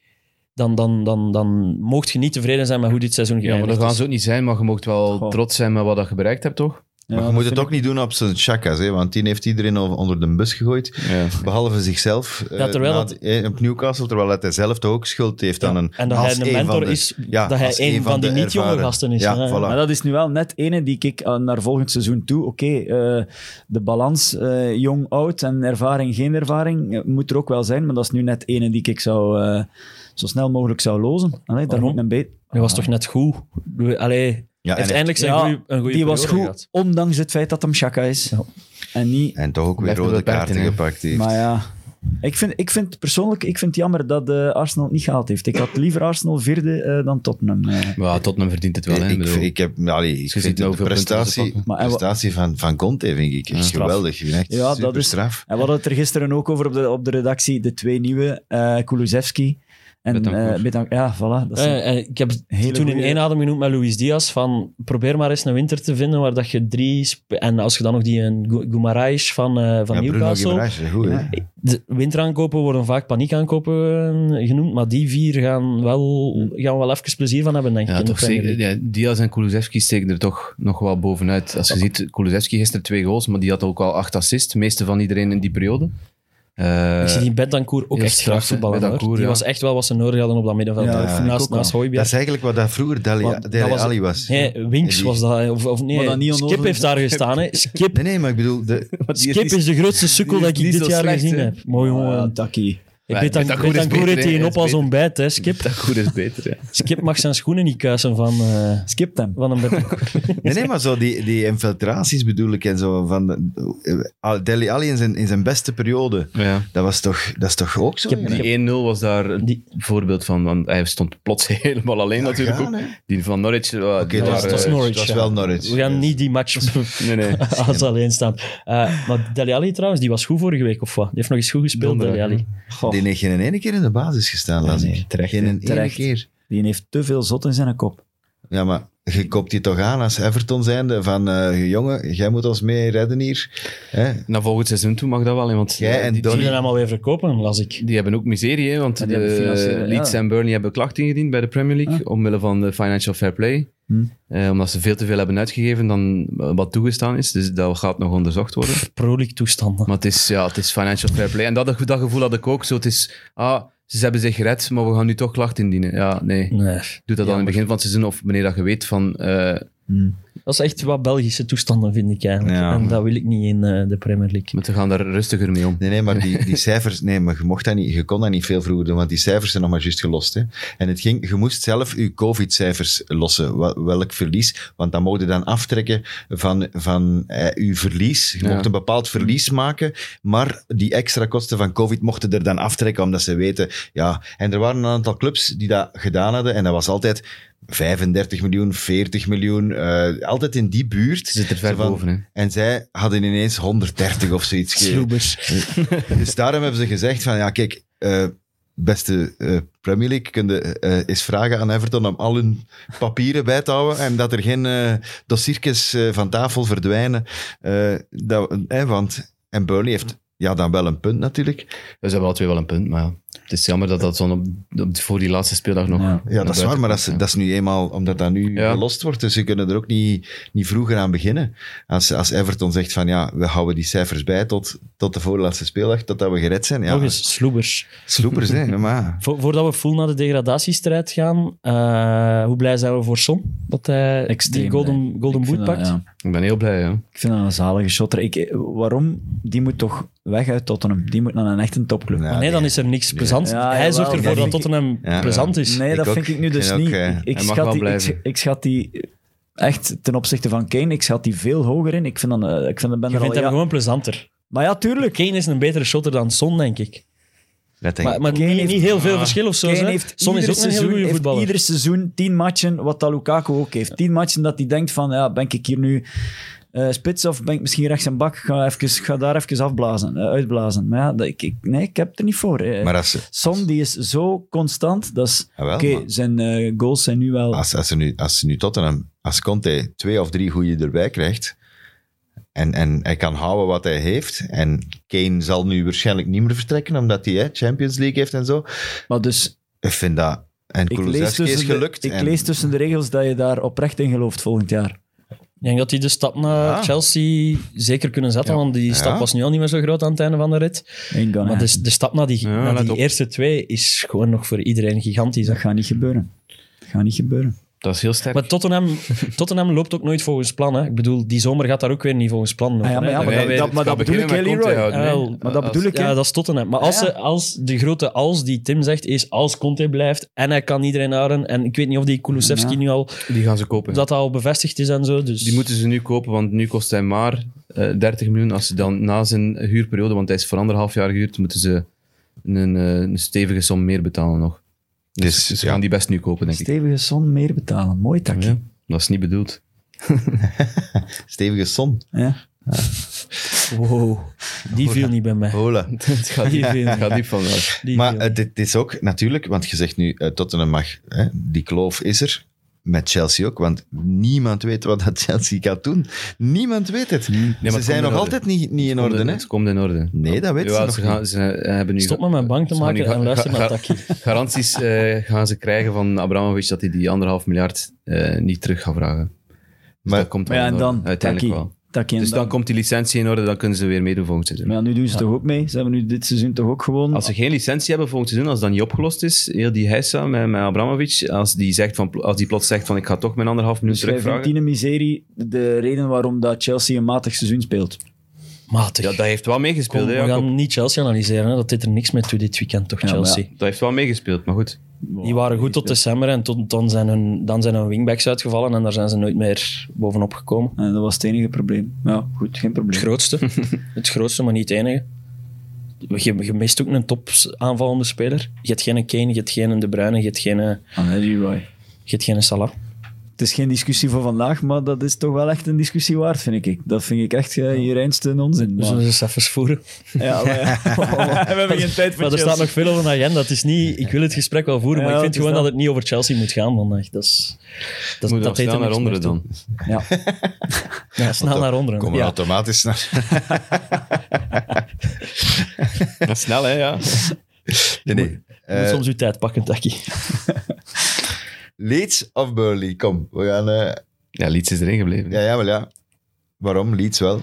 dan, dan, dan, dan mocht je niet tevreden zijn met hoe dit seizoen Ja, maar geëindigd dat is. gaan ze ook niet zijn, maar je mocht wel Goh. trots zijn met wat dat je bereikt hebt, toch? Ja, maar je dat moet vind het ook niet doen op zijn chakkas, hè, want die heeft iedereen al onder de bus gegooid. Ja. Behalve zichzelf. eh, terwijl na dat- de- eh, Op Newcastle, terwijl dat hij zelf toch ook schuld heeft aan een... en dat als hij een één van mentor de- is, ja, dat hij als een van die de niet-jonge ervaren. gasten is. Ja, hè. voilà. Maar dat is nu wel net ene die ik eh, naar volgend seizoen toe. Oké, eh, de balans eh, jong, oud en ervaring, geen ervaring eh, moet er ook wel zijn. Maar dat is nu net ene die ik zou, eh, zo snel mogelijk zou lozen. Allee, daar Waarom? moet een beetje. Hij was toch net goed? We- Allee, Ja, en, heeft eindelijk zijn ja, goeie- een goede die was goed, periode gehad. ondanks het feit dat hem Chaka is. En niet. en toch ook weer Blijft er rode beperkt kaarten in, hè. gepakt heeft. Maar ja, ik vind, ik vind persoonlijk ik vind het jammer dat eh, Arsenal het niet gehaald heeft. Ik had liever Arsenal vierde eh, dan Tottenham. eh. Maar Tottenham verdient het wel, hè? ik, bedoel. ik heb, allee, ik je ziet vind nou de hoeveel punten ze prestatie, pakken. Maar hij wa- prestatie van, van Conte vind ik echt geweldig. Ik vind Echt Ja, dat super is- straf. En we hadden het er gisteren ook over op de, op de redactie. De twee nieuwe, eh Kulusevski en Betancourt. eh Betanc- Ja, voilà. Dat is Eh, eh, ik heb het Hele toen in goeie- één adem genoemd met Luis Diaz van probeer maar eens een winter te vinden waar dat je drie... sp- En als je dan nog die een Gu- Guimaraes van, eh, van Ja, Bruno Newcastle... Guimaraes, goed hè. De winteraankopen worden vaak paniekaankopen eh, genoemd, maar die vier gaan wel, gaan wel even plezier van hebben, denk ik. Ja, in de toch Premier zeker. League. Ja, Diaz en Kulusevski steken er toch nog wel bovenuit. Als je ziet, Kulusevski gisteren twee goals, maar die had ook al acht assists. De meeste van iedereen in die periode. Eh, Ik zie die Betancourt ook Ja, echt straf, graag voetballen. hoor. Betancourt, Die ja. was echt wel wat ze nodig hadden op dat middenveld. Ja, dat vind ik naast ook naast wel. Hooiberg. Dat is eigenlijk wat dat vroeger Dali, Want Dele dat was- Alli was. Nee, Winks Die- was dat. eh, Of, of Maar nee, dan niet Skip onnozel- heeft daar gestaan. Hè. Skip, Nee, nee, maar ik bedoel, de, want die Skip niet- is de grootste sukkel die dat is ik niet dit zo jaar slecht, gezien hè. heb. Mooi Ah, jongen. Taki. Hey, Maar Betan- Betancourt is Betancourt beter, heeft die hè. op Is als beter. ontbijt. Hè. Skip, Dat goed is beter, ja. Skip mag zijn schoenen niet kuisen van, eh, Skip hem. van een Betancourt. nee, nee, maar zo die, die infiltraties bedoel ik en zo. Van de, eh, Dele Alli in zijn, in zijn beste periode, ja. dat, was toch, dat is toch ook zo? Ik heb ja. Die 1-0 was daar een Die- voorbeeld van, want hij stond plots helemaal alleen natuurlijk Ja, ook. nee. Die van Norwich, eh, Oké, die dat was- waren- dat was Norwich, Het was ja. wel Norwich. We gaan niet die match Nee, nee. als ze alleen staan. Eh, maar Dele Alli trouwens, die was goed vorige week of wat? Die heeft nog eens goed gespeeld, Donderdag, Dele Alli. Die heeft geen ene keer in de basis gestaan, las Nee, ik. nee, terecht, geen hè. ene Terecht. keer. Die heeft te veel zot in zijn kop. Ja, maar je koopt die toch aan als Everton zijnde van eh, jongen, jij moet ons mee redden hier. Hè? Na volgend seizoen toe mag dat wel, hè, want Jij eh, en die, Die Donny. willen hem alweer verkopen, las ik. die hebben ook miserie, hè, want Ja, de, die hebben financiële- Leeds ja. en Burnley hebben klacht ingediend bij de Premier League Ah. omwille van de financial fair play. Hm. Eh, omdat ze veel te veel hebben uitgegeven dan eh, wat toegestaan is. Dus dat gaat nog onderzocht worden. Pro-league toestanden. Maar het is, ja, het is financial fair play. En dat, dat gevoel had ik ook. Zo, het is, ah, ze hebben zich gered, maar we gaan nu toch klacht indienen. Ja, nee. Hmm. Nee. Doe dat dan in het begin van het seizoen of wanneer dat je weet van... eh, Dat is echt wat Belgische toestanden, vind ik eigenlijk. Ja. En dat wil ik niet in eh, de Premier League. maar we gaan daar rustiger mee om. Nee, nee, maar die, die cijfers, nee, maar je, mocht dat niet, je kon dat niet veel vroeger doen, want die cijfers zijn nog maar juist gelost. Hè? En het ging, je moest zelf je COVID-cijfers lossen, wel- welk verlies, want dat mocht je dan aftrekken van, van eh, je verlies. Je Ja. mocht een bepaald verlies maken, maar die extra kosten van COVID mochten er dan aftrekken, omdat ze weten, ja. En er waren een aantal clubs die dat gedaan hadden, en dat was altijd 35 miljoen, 40 miljoen, eh, altijd in die buurt. Ze zit er ver Zo van- boven, hè. En zij hadden ineens 130 of zoiets. ge- Sloebers. dus daarom hebben ze gezegd van, ja, kijk, eh, beste eh, Premier League, kun je eh, eens vragen aan Everton om al hun papieren bij te houden en dat er geen eh dossiertjes eh, van tafel verdwijnen. Eh, dat, eh, want, en Burnley heeft ja, dan wel een punt natuurlijk. Dus ze hebben wel twee wel een punt, maar ja. Het is jammer dat dat zo'n op, op- voor die laatste speeldag nog... Ja. Ja, dat is waar, maar dat is, dat is nu eenmaal omdat dat nu Ja. gelost wordt. Dus ze kunnen er ook niet, niet vroeger aan beginnen. Als, als Everton zegt van ja, we houden die cijfers bij tot, tot de voorlaatste speeldag, totdat we gered zijn. Ja, Nog eens, sloebers. sloepers, hè. Maar Vo- voordat we full naar de degradatiestrijd gaan, eh, hoe blij zijn we voor Son dat hij Extreem die golden, blij. golden Ik boot vind dat- pakt? ja. Ik ben heel blij, ja. Ik vind dat een zalige shotter. Ik, eh, waarom? Die moet toch weg uit Tottenham. Die moet naar een echte topclub. Ja. Maar nee, dan is er niks plezant. Ja, hij jawel, zorgt ervoor dat dat vind ik- Tottenham Ja, plezant is. Nee, Ik dat ook. vind ik nu dus Ik vind niet. ook, eh, ik, ik, hij mag wel schat die, ik, blijven. sch- ik schat die echt ten opzichte van Kane, ik schat die veel hoger in. Ik vind dan, eh, ik vind, ben Je er al, vindt hem ja- gewoon plezanter. Maar ja, tuurlijk. Kane is een betere shotter dan Son, denk ik. dat denk ik. Maar, maar Kane niet, heeft- Ah, niet heel veel verschil of zo. Kane hè? heeft Son is ieder ook een heel seizoen- goede heeft voetballer. ieder seizoen tien matchen, wat dat Lukaku ook heeft. Tien matchen dat hij denkt van, ja, ben ik hier nu eh, spits of ben ik misschien rechts een bak? Ga, even, ga daar even afblazen, eh, uitblazen. Maar ja, dat, ik, ik- nee, ik heb het er niet voor. eh. Maar als, Son, die is zo constant. Dat is... jawel, Oké, maar Ah, zijn eh, goals zijn nu wel... als, als, ze nu, als ze nu Tottenham, als Conte twee of drie goede erbij krijgt, en, en hij kan houden wat hij heeft, en Kane zal nu waarschijnlijk niet meer vertrekken, omdat hij hè, Champions League heeft en zo. Maar dus, Ik vind dat... En ik lees, Kulusevski is tussen de, gelukt. ik en- lees tussen de regels dat je daar oprecht in gelooft volgend jaar. Ik denk dat die de stap naar Ah. Ja. Chelsea zeker kunnen zetten, want die stap Ja. was nu al niet meer zo groot aan het einde van de rit. In Ghana. Maar dus- de, de stap naar die, Ja, naar let die op. eerste twee is gewoon nog voor iedereen gigantisch. hè. Dat gaat niet gebeuren. Dat gaat niet gebeuren. Dat is heel sterk. Maar Tottenham, Tottenham loopt ook nooit volgens plan. Hè. Ik bedoel, die zomer gaat daar ook weer niet volgens plan. lopen, Ah ja, maar hè. ja, Dat maar weet- dat, dat, maar dat bedoel ik, hè, Leroy. Wel, maar dat bedoel ik, hè. Ja, dat is Tottenham. Maar als, Ah Ja, ja. ze, als de grote als die Tim zegt, is als Conte blijft en hij kan iedereen houden. En ik weet niet of die Kulusevski Ja. nu al, Die gaan ze kopen. dat al bevestigd is en zo. Dus Die moeten ze nu kopen, want nu kost hij maar eh 30 miljoen. Als ze dan na zijn huurperiode, want hij is voor anderhalf jaar gehuurd, moeten ze een, eh, een stevige som meer betalen nog. Dus, Dus, ze ja. gaan die best nu kopen, denk ik. Stevige Son meer betalen. Mooi takje. Ja, dat is niet bedoeld. Stevige som. Ja. wow, die Oh, viel niet bij mij. Hola. het gaat diep, Die het gaat diep van weg. Die Maar viel eh, dit is ook natuurlijk, want je zegt nu eh, Tottenham mag, hè, die kloof is er. Met Chelsea ook, want niemand weet wat dat Chelsea gaat doen. Niemand weet het. het ze komt zijn in nog orde. altijd niet, niet in orde. Hè? Het komt in orde. Nee, dat weten Ja, ze nog ze gaan, ze hebben nu Stop met mijn bank te ze gaan maken nu ga- en luister ga- naar ga- Taki. Garanties eh, gaan ze krijgen van Abramovic dat hij die anderhalf miljard eh, niet terug gaat vragen. Dus Maar- dat komt Maar wel ja, in en orde, dan? uiteindelijk Taki. wel. Takje en Dus dan komt die licentie in orde, dan kunnen ze weer meedoen volgend seizoen. Maar ja, nu doen ze toch ook mee? Ze hebben nu dit seizoen toch ook gewoon... Als ze geen licentie hebben volgend seizoen, als dat niet opgelost is, heel die heisa met, met Abramovic, als die, zegt van, als die plots zegt van ik ga toch mijn anderhalf minuut dus wij vinden terugvragen. Tine Miserie de reden waarom dat Chelsea een matig seizoen speelt. Matig. Ja, dat heeft wel Kom, meegespeeld, hè, we Jacob. gaan niet Chelsea analyseren, hè. dat deed er niks mee toe dit weekend, toch, Ja, maar Chelsea? Dat heeft wel meegespeeld, maar goed. Die waren goed tot december en tot, dan, zijn hun, dan zijn hun wingbacks uitgevallen en daar zijn ze nooit meer bovenop gekomen. En dat was het enige probleem. Ja, goed, geen Het probleem. grootste. het grootste, maar niet het enige. Je, je mist ook een top aanvallende speler. Je hebt geen Kane, je hebt geen De Bruyne, je hebt geen, je Ah, nee, Leroy. hebt geen Salah. Het is geen discussie voor vandaag, maar dat is toch wel echt een discussie waard, vind ik. Dat vind ik echt eh, je reinste Dus onzin. We maar- zullen ze eens even voeren. Ja, maar ja. we hebben geen tijd voor Maar er Chelsea. staat nog veel over de agenda. Het is niet, ik wil het gesprek wel voeren, maar Ja, ik vind het is gewoon dat dat. het niet over Chelsea moet gaan vandaag. Dat, is, dat, Moet dat dat deed er snel naar niks meer onderen toe. dan. Ja. Ja, snel naar onderen. Komen Ja. automatisch naar. Ja, snel, hè, ja. Nee, nee. Je moet Eh, soms uw tijd pakken, Taki. Leeds of Burnley? Kom, we gaan. eh, Ja, Leeds is erin gebleven. ja, ja, wel ja. Waarom? Leeds wel.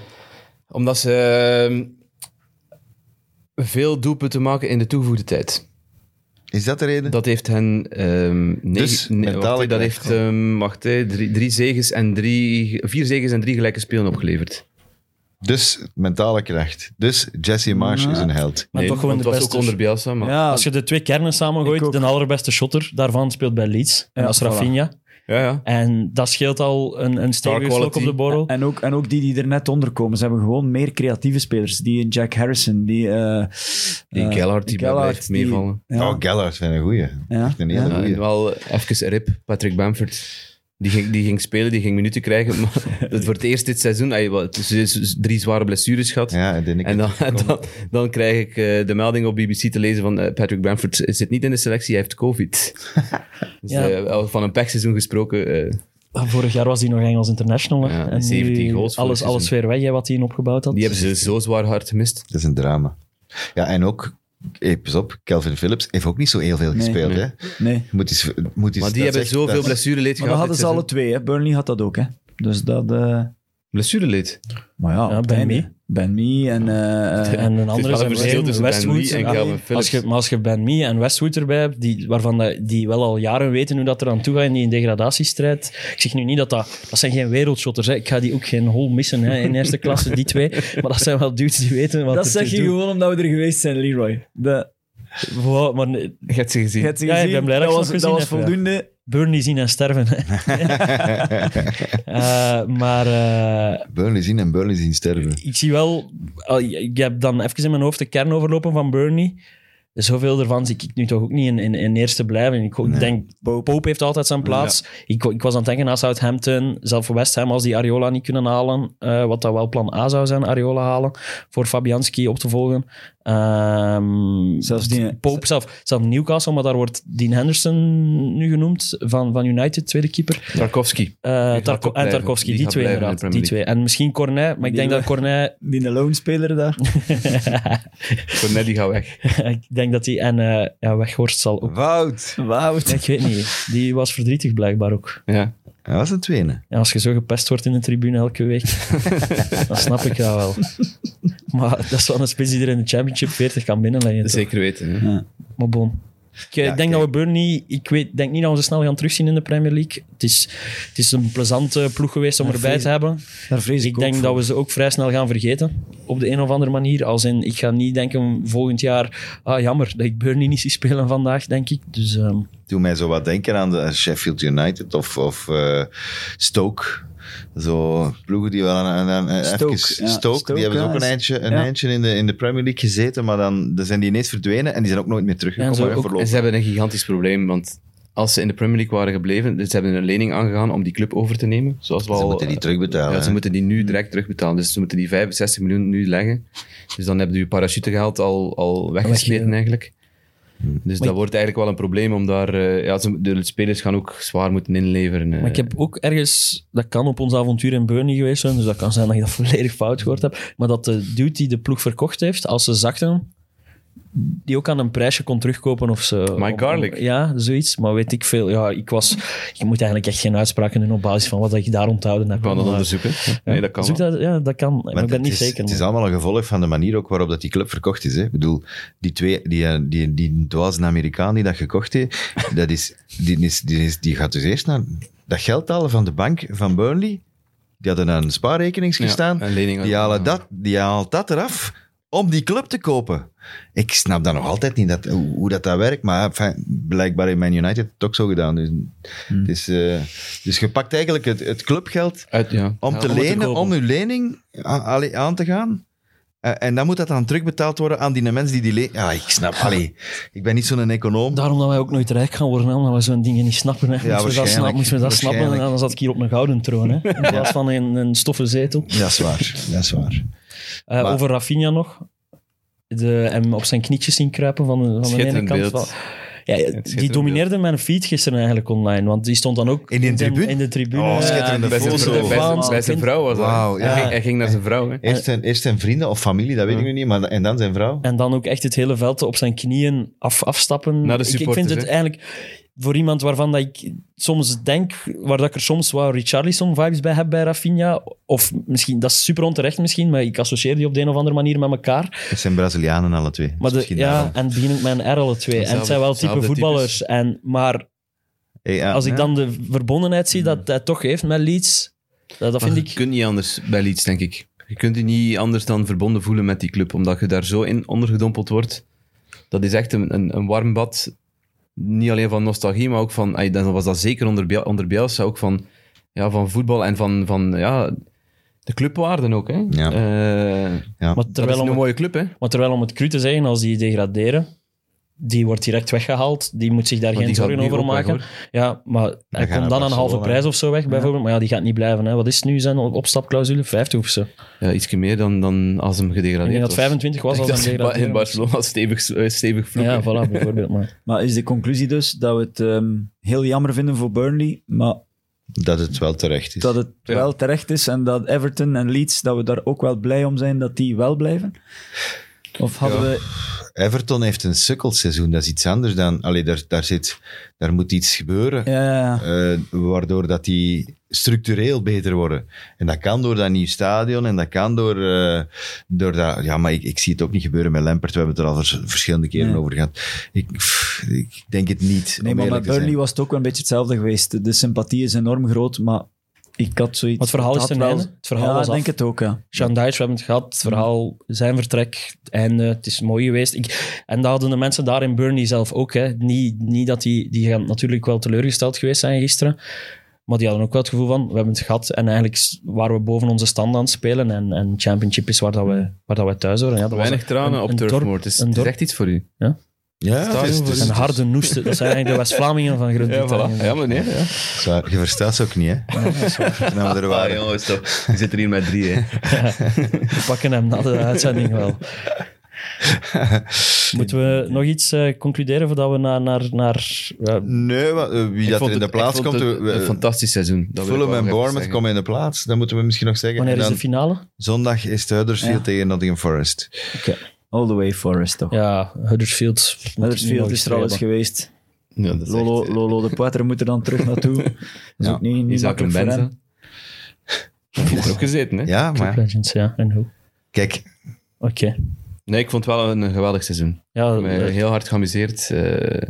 Omdat ze ehm, veel doelpunten maken in de toegevoegde tijd. Is dat de reden? Dat heeft hen... ehm negen- Dus, ne- mentaal wacht, hè, dat gelijk. heeft ehm, wacht, hè, drie, drie zegens en drie, vier zegens en drie gelijke spelen opgeleverd. Dus mentale kracht. Dus Jesse Marsh Nou. is een held. Maar toch gewoon want de het was beste. ook onder Bielsa, maar... Ja, Als je de twee kernen Ik samengooit, ook. de allerbeste shotter daarvan speelt bij Leeds. En Ja, dat is voilà. Rafinha. ja, ja. En dat scheelt al een, een stevige slok op quality. de borrel. En ook, en ook die die er net onder komen. Ze hebben gewoon meer creatieve spelers. Die Jack Harrison, die... eh, Die eh, Gellhard, die blijft die- meevallen. ja. Oh, Gallagher vind ik een goeie. Ja. Echt een hele Ja. Ja, goeie. en wel even rip, Patrick Bamford. Die ging, die ging spelen, die ging minuten krijgen. Maar het voor het eerst dit seizoen. Hij wat, dus- dus drie zware blessures gehad. Ja, en, en dan, dan, dan krijg ik eh, de melding op BBC te lezen van eh, Patrick Bamford zit niet in de selectie, hij heeft COVID. Dus, Ja. eh, al van een pechseizoen gesproken. eh, Vorig jaar was hij nog Engels international. hè. Ja, en 17 nu goals vorig alles, alles seizoen. weer weg, hè, wat hij in opgebouwd had. die hebben ze zo zwaar hard gemist. Dat is een drama. Ja, en ook hey, pas op, Calvin Phillips heeft ook niet zo heel veel Nee. gespeeld. Nee. Hè? Nee. Moet eens, moet eens, Maar die dat hebben zegt- zoveel dat- blessureleed gehad. Maar dat hadden dit ze alle seizoen. twee. Hè. Burnley had dat ook. Hè. Dus dat... eh, Blessureleed? maar ja, Ja, op het Ben einde. Mee. Ben Mee en... eh, eh, En een andere wel een zijn verschil Wayne, tussen Ben Westwood. Mee en Ja, Calvin als je, Phillips. maar als je Ben Mee en Westwood erbij hebt, die, waarvan dat- die wel al jaren weten hoe dat er aan toe gaat in die degradatiestrijd. Ik zeg nu niet dat dat... Dat zijn geen wereldshotters. Hè. Ik ga die ook geen hol missen hè, in eerste klasse, die twee. Maar dat zijn wel dudes die weten wat dat er zeg te je doen. gewoon omdat we er geweest zijn, Leroy. De, Wow, maar nee, Je hebt ze gezien. je hebt ze Ja, ik gezien, ben blij dat dat ik ze was, nog gezien dat was heb, ja. voldoende. Burnley zien en sterven. hè. Eh, maar... eh, Burnley zien en Burnley zien sterven. ik zie wel, al- ik heb dan even in mijn hoofd de kern overlopen van Burnley. Zoveel ervan zie ik nu toch ook niet in, in, in eerste blijven. Ik denk, Pope. heeft altijd zijn plaats. Ik, ik was aan het denken aan Southampton, zelf West Ham, als die Ariola niet kunnen halen, eh, wat dat wel plan A zou zijn, Ariola halen, voor Fabianski op te volgen. Ehm, Zelfs die- Pope, zelf, zelf Newcastle, maar daar wordt Dean Henderson nu genoemd, van, van United, tweede keeper. Tarkovsky. Eh, gaat Tarko- ook en blijven. Tarkovsky, Die die, gaat twee blijven in de inderdaad. Die Premier twee. En misschien Cornet, maar ik Die denk dat we- Cornet Die een loonspeler daar. Voor net die gaat weg. ik denk dat hij en eh, ja, Weghorst zal ook. Wout! Wauw. Ik weet niet. Die was verdrietig blijkbaar ook. Ja. Hij was een tweede. En als je zo gepest wordt in de tribune elke week, dan snap ik dat wel. Maar dat is wel een spits die er in de Championship 40 kan binnenleggen. toch? Zeker weten. hè. Maar bon. Ik Ja, eh, denk kijk. dat we Burnley... Ik weet, denk niet dat we ze snel gaan terugzien in de Premier League. Het is, het is een plezante ploeg geweest om Maar erbij vrees- te hebben. Daar vrees ik, Ik denk dat we ze ook vrij snel gaan vergeten. Op de een of andere manier. Als in, ik ga niet denken volgend jaar... Ah, jammer dat ik Burnley niet zie spelen vandaag, denk ik. Dus... ehm, Doe mij zo wat denken aan de Sheffield United of, of eh, Stoke. Zo ploegen die wel aan... aan, aan even- Stoke, ja. Stoke, Stoke, die hebben ja, ze ook een is- eindje, een ja. eindje in, de, in de Premier League gezeten, maar dan, dan zijn die ineens verdwenen en die zijn ook nooit meer Ja, teruggekomen. zo hè, ook- voorlopig. En ze hebben een gigantisch probleem, want als ze in de Premier League waren gebleven, dus ze hebben een lening aangegaan om die club over te nemen. Zoals we Ze al, moeten die eh, terugbetalen. Ja, ze hè. Hmm. moeten die nu direct terugbetalen. Dus ze moeten die 65 miljoen nu leggen. Dus dan hebben je parachutegeld al, al weggesmeten Weg- eigenlijk. Hmm. Dus dat wordt eigenlijk wel een probleem, om daar... eh, ja, ze- de spelers gaan ook zwaar moeten inleveren. eh. Maar ik heb ook ergens, dat kan op ons avontuur in Burnley geweest zijn, dus dat kan zijn dat ik dat volledig fout gehoord heb, maar dat de dude die de ploeg verkocht heeft, als ze zakten, die ook aan een prijsje kon terugkopen of ze... Mike om- Garlic. om- Ja, zoiets, maar weet ik veel. Ja, ik was... Je moet eigenlijk echt geen uitspraken doen op basis van wat ik daar onthouden heb. Ik kan dat Maar- onderzoeken. Nee, dat kan Zoek wel. dat, ja, dat kan. Maar ik ben het niet is, zeker. Het is man. allemaal een gevolg van de manier ook waarop dat die club verkocht is. Hè. Ik bedoel, die twee, die, eh, die, die dwaze Amerikaan die dat gekocht heeft, dat is, die, is, die, is, die gaat dus eerst naar dat geld halen van de bank van Burnley. Die hadden een spaarrekening Ja, gestaan. een lening die, halen Ja. dat, die haalt dat eraf om die club te kopen. Ik snap dat nog altijd niet, dat, hoe, hoe dat, dat werkt. Maar enfin, blijkbaar in Man United het ook zo gedaan. Dus, Hmm. het is, eh, dus je pakt eigenlijk het, het clubgeld Uit, ja. om Ja, te te lenen, kopen. om uw lening a- allee, aan te gaan. Eh, En dan moet dat dan terugbetaald worden aan die mensen die die lening... Ja, ik snap, allee, ik ben niet zo'n econoom. Daarom dat wij ook nooit rijk gaan worden, hè, omdat we zo'n dingen niet snappen. Hè. Moesten we dat waarschijnlijk. snappen, moesten we dat snappen, en Waarschijnlijk. dan zat ik hier op een gouden troon. Hè, in plaats van een, een stoffen zetel. Dat is waar, dat is waar. Eh, Maar- Over Rafinha nog. De, hem op zijn knietjes zien kruipen van de, van de ene Schitterend kant. beeld. Van, ja, die beeld. domineerde mijn feed gisteren eigenlijk online. Want die stond dan ook In die de- tribune? In de tribune. Oh, schitterende en eh, die Bij zijn, foto. foto bij zijn- van- bij zijn vrouw was dat. Wauw, ja. Hij, ging, hij ging naar zijn vrouw. Hè. Eerst zijn, eerst zijn vrienden of familie, dat weet ik nu niet, maar, en dan zijn vrouw. En dan ook echt het hele veld op zijn knieën af, afstappen. Naar de ik, ik vind supporters, het hè? eigenlijk voor iemand waarvan dat ik soms denk, waar dat ik er soms wat Richarlison-vibes bij heb bij Rafinha. Of misschien, dat is super onterecht misschien, maar ik associeer die op de een of andere manier met elkaar. Het zijn Brazilianen alle twee. Maar de, Misschien ja, daarom. en begin ik met een R alle twee. En het zijn wel type Hetzelfde types. voetballers. En, maar Hey, ja, als ik ja. dan de verbondenheid zie Mm. dat hij toch heeft met Leeds, dat, dat Maar vind Je ik... kunt niet anders bij Leeds, denk ik. Je kunt je niet anders dan verbonden voelen met die club, omdat je daar zo in ondergedompeld wordt. Dat is echt een, een, een warm bad. Niet alleen van nostalgie, maar ook van... ay, Dan was dat zeker onder, Biel- onder Bielsa ook van, ja, van voetbal en van, van ja, de clubwaarden ook. Hè? Ja. Eh, Ja. Maar dat is terwijl, een om, mooie club, hè? maar terwijl om het cru te zeggen, als die degraderen, die wordt direct weggehaald. Die moet zich daar Want geen die gaat zorgen nu over ook weg, maken. hoor. ja, maar hij gaan komt naar dan aan halve Barcelona. prijs of zo weg, bijvoorbeeld. Maar ja, die gaat niet blijven. Hè. Wat is nu zijn op- opstapclausule? 50 of zo. Ja, ietsje meer dan, dan als hem gedegradeerd Ik denk dat was. 25 was Ik als dacht hij in Ba- in degraderen was. Barcelona stevig, eh, stevig vloeken. Ja, voilà, bijvoorbeeld. Maar. Maar is de conclusie dus dat we het ehm, heel jammer vinden voor Burnley, maar Dat het wel terecht is. dat het Ja. wel terecht is en dat Everton en Leeds, dat we daar ook wel blij om zijn dat die wel blijven? Of hadden we Everton heeft een sukkelseizoen. Dat is iets anders dan... Allee, daar, daar, zit, daar moet iets gebeuren. Ja, ja, ja. eh, waardoor dat die structureel beter worden. En dat kan door dat nieuw stadion en dat kan door, eh, door dat... Ja, maar ik, ik zie het ook niet gebeuren met Lampert. We hebben het er al vers- verschillende keren Nee. over gehad. Ik, pff, ik denk het niet. Nee, om maar eerlijk met te zijn. Burnley was het ook wel een beetje hetzelfde geweest. De sympathie is enorm groot, maar ik had zoiets... Maar het verhaal is had ten wel- einde. Het verhaal ja, was ik denk af. het ook, ja. Sean Dyche, we hebben het gehad. Het verhaal, zijn vertrek, het einde, het is mooi geweest. Ik, en dat hadden de mensen daar in Burnley zelf ook. Hè. Niet, niet dat die, die gaan natuurlijk wel teleurgesteld geweest zijn gisteren. Maar die hadden ook wel het gevoel van, we hebben het gehad. En eigenlijk s- waren we boven onze stand aan het spelen. En, en championship is waar, dat we, waar dat we thuis horen. Ja, dat was Weinig een- tranen een- op een Turf dorp- Moor. Het is, een het is dorp- echt iets voor u. Ja, dus. het is- het is- Een het is- harde noesten. Dat zijn eigenlijk de West-Vlamingen van Ja, Groot-Brittannië. voilà. ja meneer. Ja. Zwaar, Je verstaat ze ook niet, hè? Nou, er Ah, waren. jongens, toch. Je zit er hier met drie, hè. We pakken hem na de uitzending wel. Moeten we nog iets eh, concluderen voordat we naar... naar, naar ja, Nee, wa- eh, wie Ik dat vond er in de het- plaats ik vond komt... eh, het een fantastisch seizoen. Dat wil ik Fulham wel en even Bournemouth zeggen. komen in de plaats. Dat moeten we misschien nog zeggen. wanneer En is dan de finale? zondag is het Huddersfield Ja. tegen Nottingham Forest. All the way Forest, toch? Ja, Huddersfield. Huddersfield is er al eens geweest. Ja, dat is Lolo, echt, eh, Lolo de Poitre moet er dan terug naartoe. Dat is Ja. ook niet, niet Isaac makkelijk voor Benza. hem. Heeft er ook gezeten, hè? Ja, maar ja. Legends, ja. En hoe? kijk, Oké. Nee, ik vond het wel een geweldig seizoen. Ja, eh, Ik heb me heel hard geamuseerd. eh,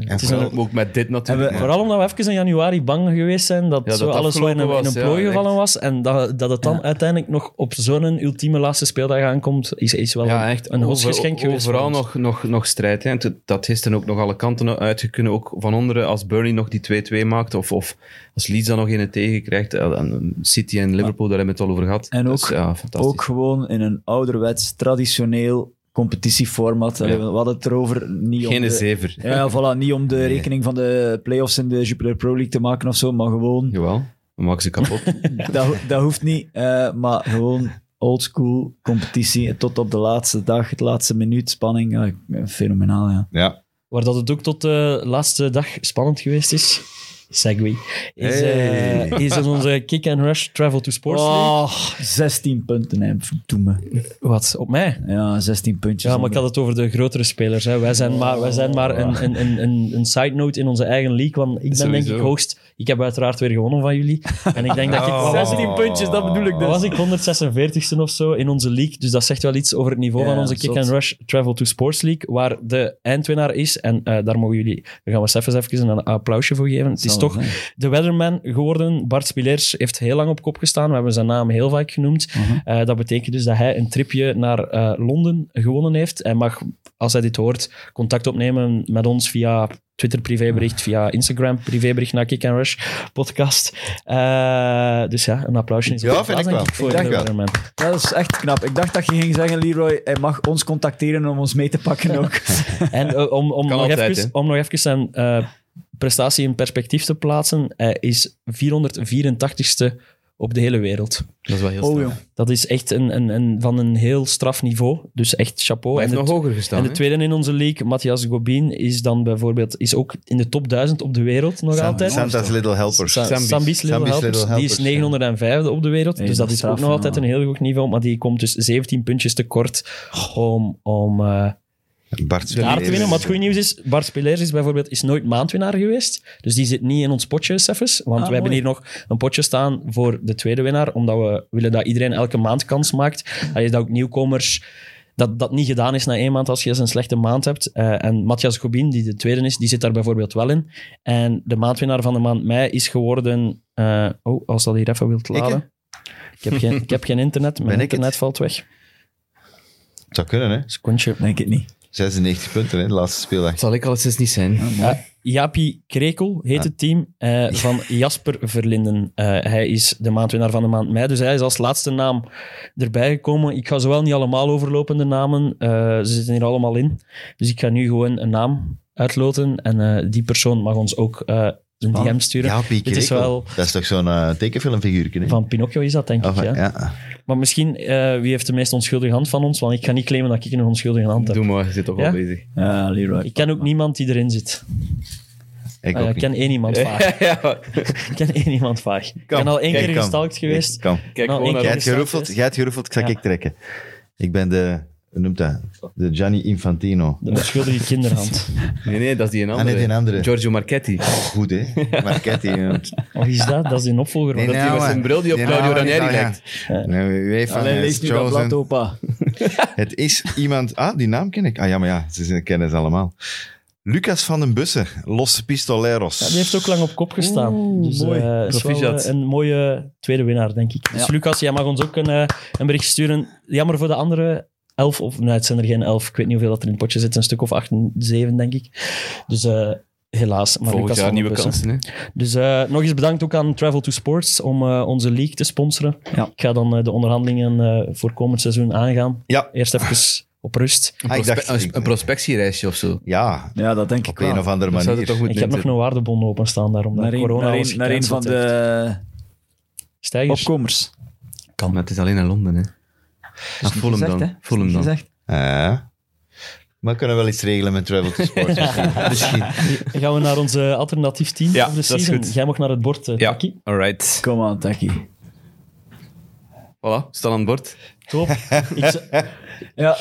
Het is vooral een- ook met dit natuurlijk. En we- Vooral omdat we even in januari bang geweest zijn dat, Ja, dat zo alles wel in een, in afgelopen een was, plooi ja, gevallen echt. was. En dat, dat het dan uiteindelijk nog op zo'n ultieme laatste speeldag aankomt, is, is wel ja, een- echt een over- hoofdgeschenk geweest. voor Overal ons. nog, nog, nog strijd. Hè. En toen- dat gisteren ook nog alle kanten uitgekunnen. Ook van onderen, als Burnley nog die 2-2 maakt. Of, of als Leeds dan nog in het tegenkrijgt. eh, en City en Liverpool, daar hebben we het al over gehad. En ook- Dus ja, fantastisch. Ook gewoon in een ouderwets, traditioneel competitieformat. Allee, Ja. We hadden het erover niet om Geen de- zever. Ja, voilà, niet om de Nee. rekening van de play-offs in de Jupiler Pro League te maken of zo, maar gewoon, Jawel, we maken ze kapot. dat, ho- dat hoeft niet, eh, maar gewoon oldschool competitie tot op de laatste dag, het laatste minuut, spanning, ja, eh, fenomenaal, ja. ja. Waar dat het ook tot de laatste dag spannend geweest is, segway, is, Hey. eh, is in onze Kick and Rush Travel to Sports League. Oh, 16 punten, hè, doe me. Wat? Op mij? Ja, 16 puntjes. Ja, maar ik had het over de grotere spelers. Hè. Wij zijn maar, wij zijn maar een, een, een, een, een side note in onze eigen league. Want ik ben denk ik Sowieso. hoogst... Ik heb uiteraard weer gewonnen van jullie. En ik denk dat ik... Oh. wat was ik? puntjes, dat bedoel ik Wat was ik dus. 146ste of zo in onze league? Dus dat zegt wel iets over het niveau Ja, van onze Kick zot. and Rush Travel to Sports League, waar de eindwinnaar is. En eh, daar mogen jullie... Daar gaan we zelfs even een applausje voor geven. Het is toch de Weatherman geworden. Bart Spilers heeft heel lang op kop gestaan. We hebben zijn naam heel vaak genoemd. Mhm. Eh, dat betekent dus dat hij een tripje naar eh, Londen gewonnen heeft. Hij mag, als hij dit hoort, contact opnemen met ons via Twitter privébericht, via Instagram privébericht naar Kick and Rush podcast. Eh, dus ja, een applausje is Ja, op de vind plaats, ik denk wel. voor Ik denk de wel. Weatherman. Dat is echt knap. Ik dacht dat je ging zeggen, Leroy, hij mag ons contacteren om ons mee te pakken ook. En eh, om, om, Kan nog altijd, even, hè? om nog even zijn eh, prestatie in perspectief te plaatsen, hij is 484ste op de hele wereld. Dat is wel heel Oh snel. joh. Dat is echt een, een, een, van een heel straf niveau. Dus echt chapeau. Hij En heeft nog het- hoger gestaan. En de hè? tweede in onze league, Matthias Gobin, is dan bijvoorbeeld is ook in de top 1000 op de wereld nog altijd. Santa's Little Helpers. Sa- Sambi's. Sambi's Little Sambi's Helpers, Little die is Helpers, ja. 905 op de wereld. Nee, dus dat dat is is straf, ook nog ja. altijd een heel goed niveau. Maar die komt dus 17 puntjes tekort om, om eh, Bart daar te Spelers. winnen. Maar het goede nieuws is, Bart Spelers is bijvoorbeeld is nooit maandwinnaar geweest. Dus die zit niet in ons potje, Seffes. Want Ah, we hebben mooi. hier nog een potje staan voor de tweede winnaar. Omdat we willen dat iedereen elke maand kans maakt. Dat is dat ook nieuwkomers... Dat dat niet gedaan is na één maand als je eens een slechte maand hebt. Eh, en Matthias Gobin, die de tweede is, die zit daar bijvoorbeeld wel in. En de maandwinnaar van de maand mei is geworden... eh, oh, als dat hier even wilt laden. Ik heb, geen, ik heb geen internet. Mijn Ben ik het? internet valt weg. Het zou kunnen, hè? Secondje. Denk het niet. 96 punten, hè? De laatste speeldag. Zal ik al eens niet zijn. Ja, Eh, Jaapie Krekel heet Ah. het team eh, van Jasper Verlinden. Eh, hij is de maandwinnaar van de maand mei, dus hij is als laatste naam erbij gekomen. Ik ga zowel niet allemaal overlopen, de namen. eh, ze zitten hier allemaal in. Dus ik ga nu gewoon een naam uitloten en eh, die persoon mag ons ook eh, een DM sturen. Ja, Piek Dit is wel- Dat is toch zo'n eh, tekenfilmfiguurtje, hè? Van Pinocchio is dat, denk Of, ik. Ja. Ah, ja. Maar misschien, eh, wie heeft de meest onschuldige hand van ons? Want ik ga niet claimen dat ik een onschuldige hand heb. Doe maar, je zit toch Ja? al bezig. Ja, Leroy. Ik ken ook niemand die erin zit. Ik Ah ja, ook Ik niet. ken één iemand vaag. ja. Ik ken één iemand vaag. Ik ben al één Kijk, keer kom. gestalkt geweest. Ik- Kom. Kijk Nou, gewoon ik- Jij naar Ja. hebt geroefeld, jij hebt geroefeld, ik zal Ja. ik trekken. Ik ben de hoe noemt dat? De Gianni Infantino. De onschuldige kinderhand. Nee, nee, dat is die een andere. nee, die andere. Giorgio Marchetti. Goed, hè? Marchetti. Of is dat? Dat is een opvolger. van Nee, dat nee, die- met maar- zijn bril die op nee, Claudio nou, Ranieri nou, ja. lijkt. Nee, wie weet van, Alleen eh, lees nu dat Chosen. blad, opa. Het is iemand... Ah, die naam ken ik. Ah ja, maar ja, ze ze kennen ze allemaal. Lucas van den Bussen, Los Pistoleros. Ja, die heeft ook lang op kop gestaan. dus eh, mooi. is wel, Proficiat. eh, een mooie tweede winnaar, denk ik. Dus Ja. Lucas, jij mag ons ook een, eh, een bericht sturen. Jammer voor de andere elf, of nee, het zijn er geen elf. Ik weet niet hoeveel dat er in het potje zit. Een stuk of acht, zeven, denk ik. Dus eh, helaas. Maar Volgend Lucas jaar van nieuwe Bussen. kansen. Hè? Dus eh, nog eens bedankt ook aan Travel to Sports om eh, onze league te sponsoren. Ja. Ik ga dan eh, de onderhandelingen eh, voor komend seizoen aangaan. Ja. Eerst even op rust. Een, Ah, ik dacht- prospe- een- een prospectiereisje of zo. Ja, Ja, dat denk ik op een wel. of andere Dat zou manier. er toch goed Ik heb in nog zitten. een waardebon openstaan daarom. Naar een, corona naar alles een, naar een gecanceld van heeft. de stijgers. opkomers. Maar het is alleen in Londen, hè. Ah, voel hem dan. Voel hem dan. Eh, maar we kunnen wel iets regelen met Travel to Sport. Misschien. Gaan we naar onze alternatief team Ja, of de dat is season? goed. Jij mag naar het bord, eh, Ja, Taki. alright. Kom aan, Taki. Voilà, staan aan het bord. Top. ik, z- Ja,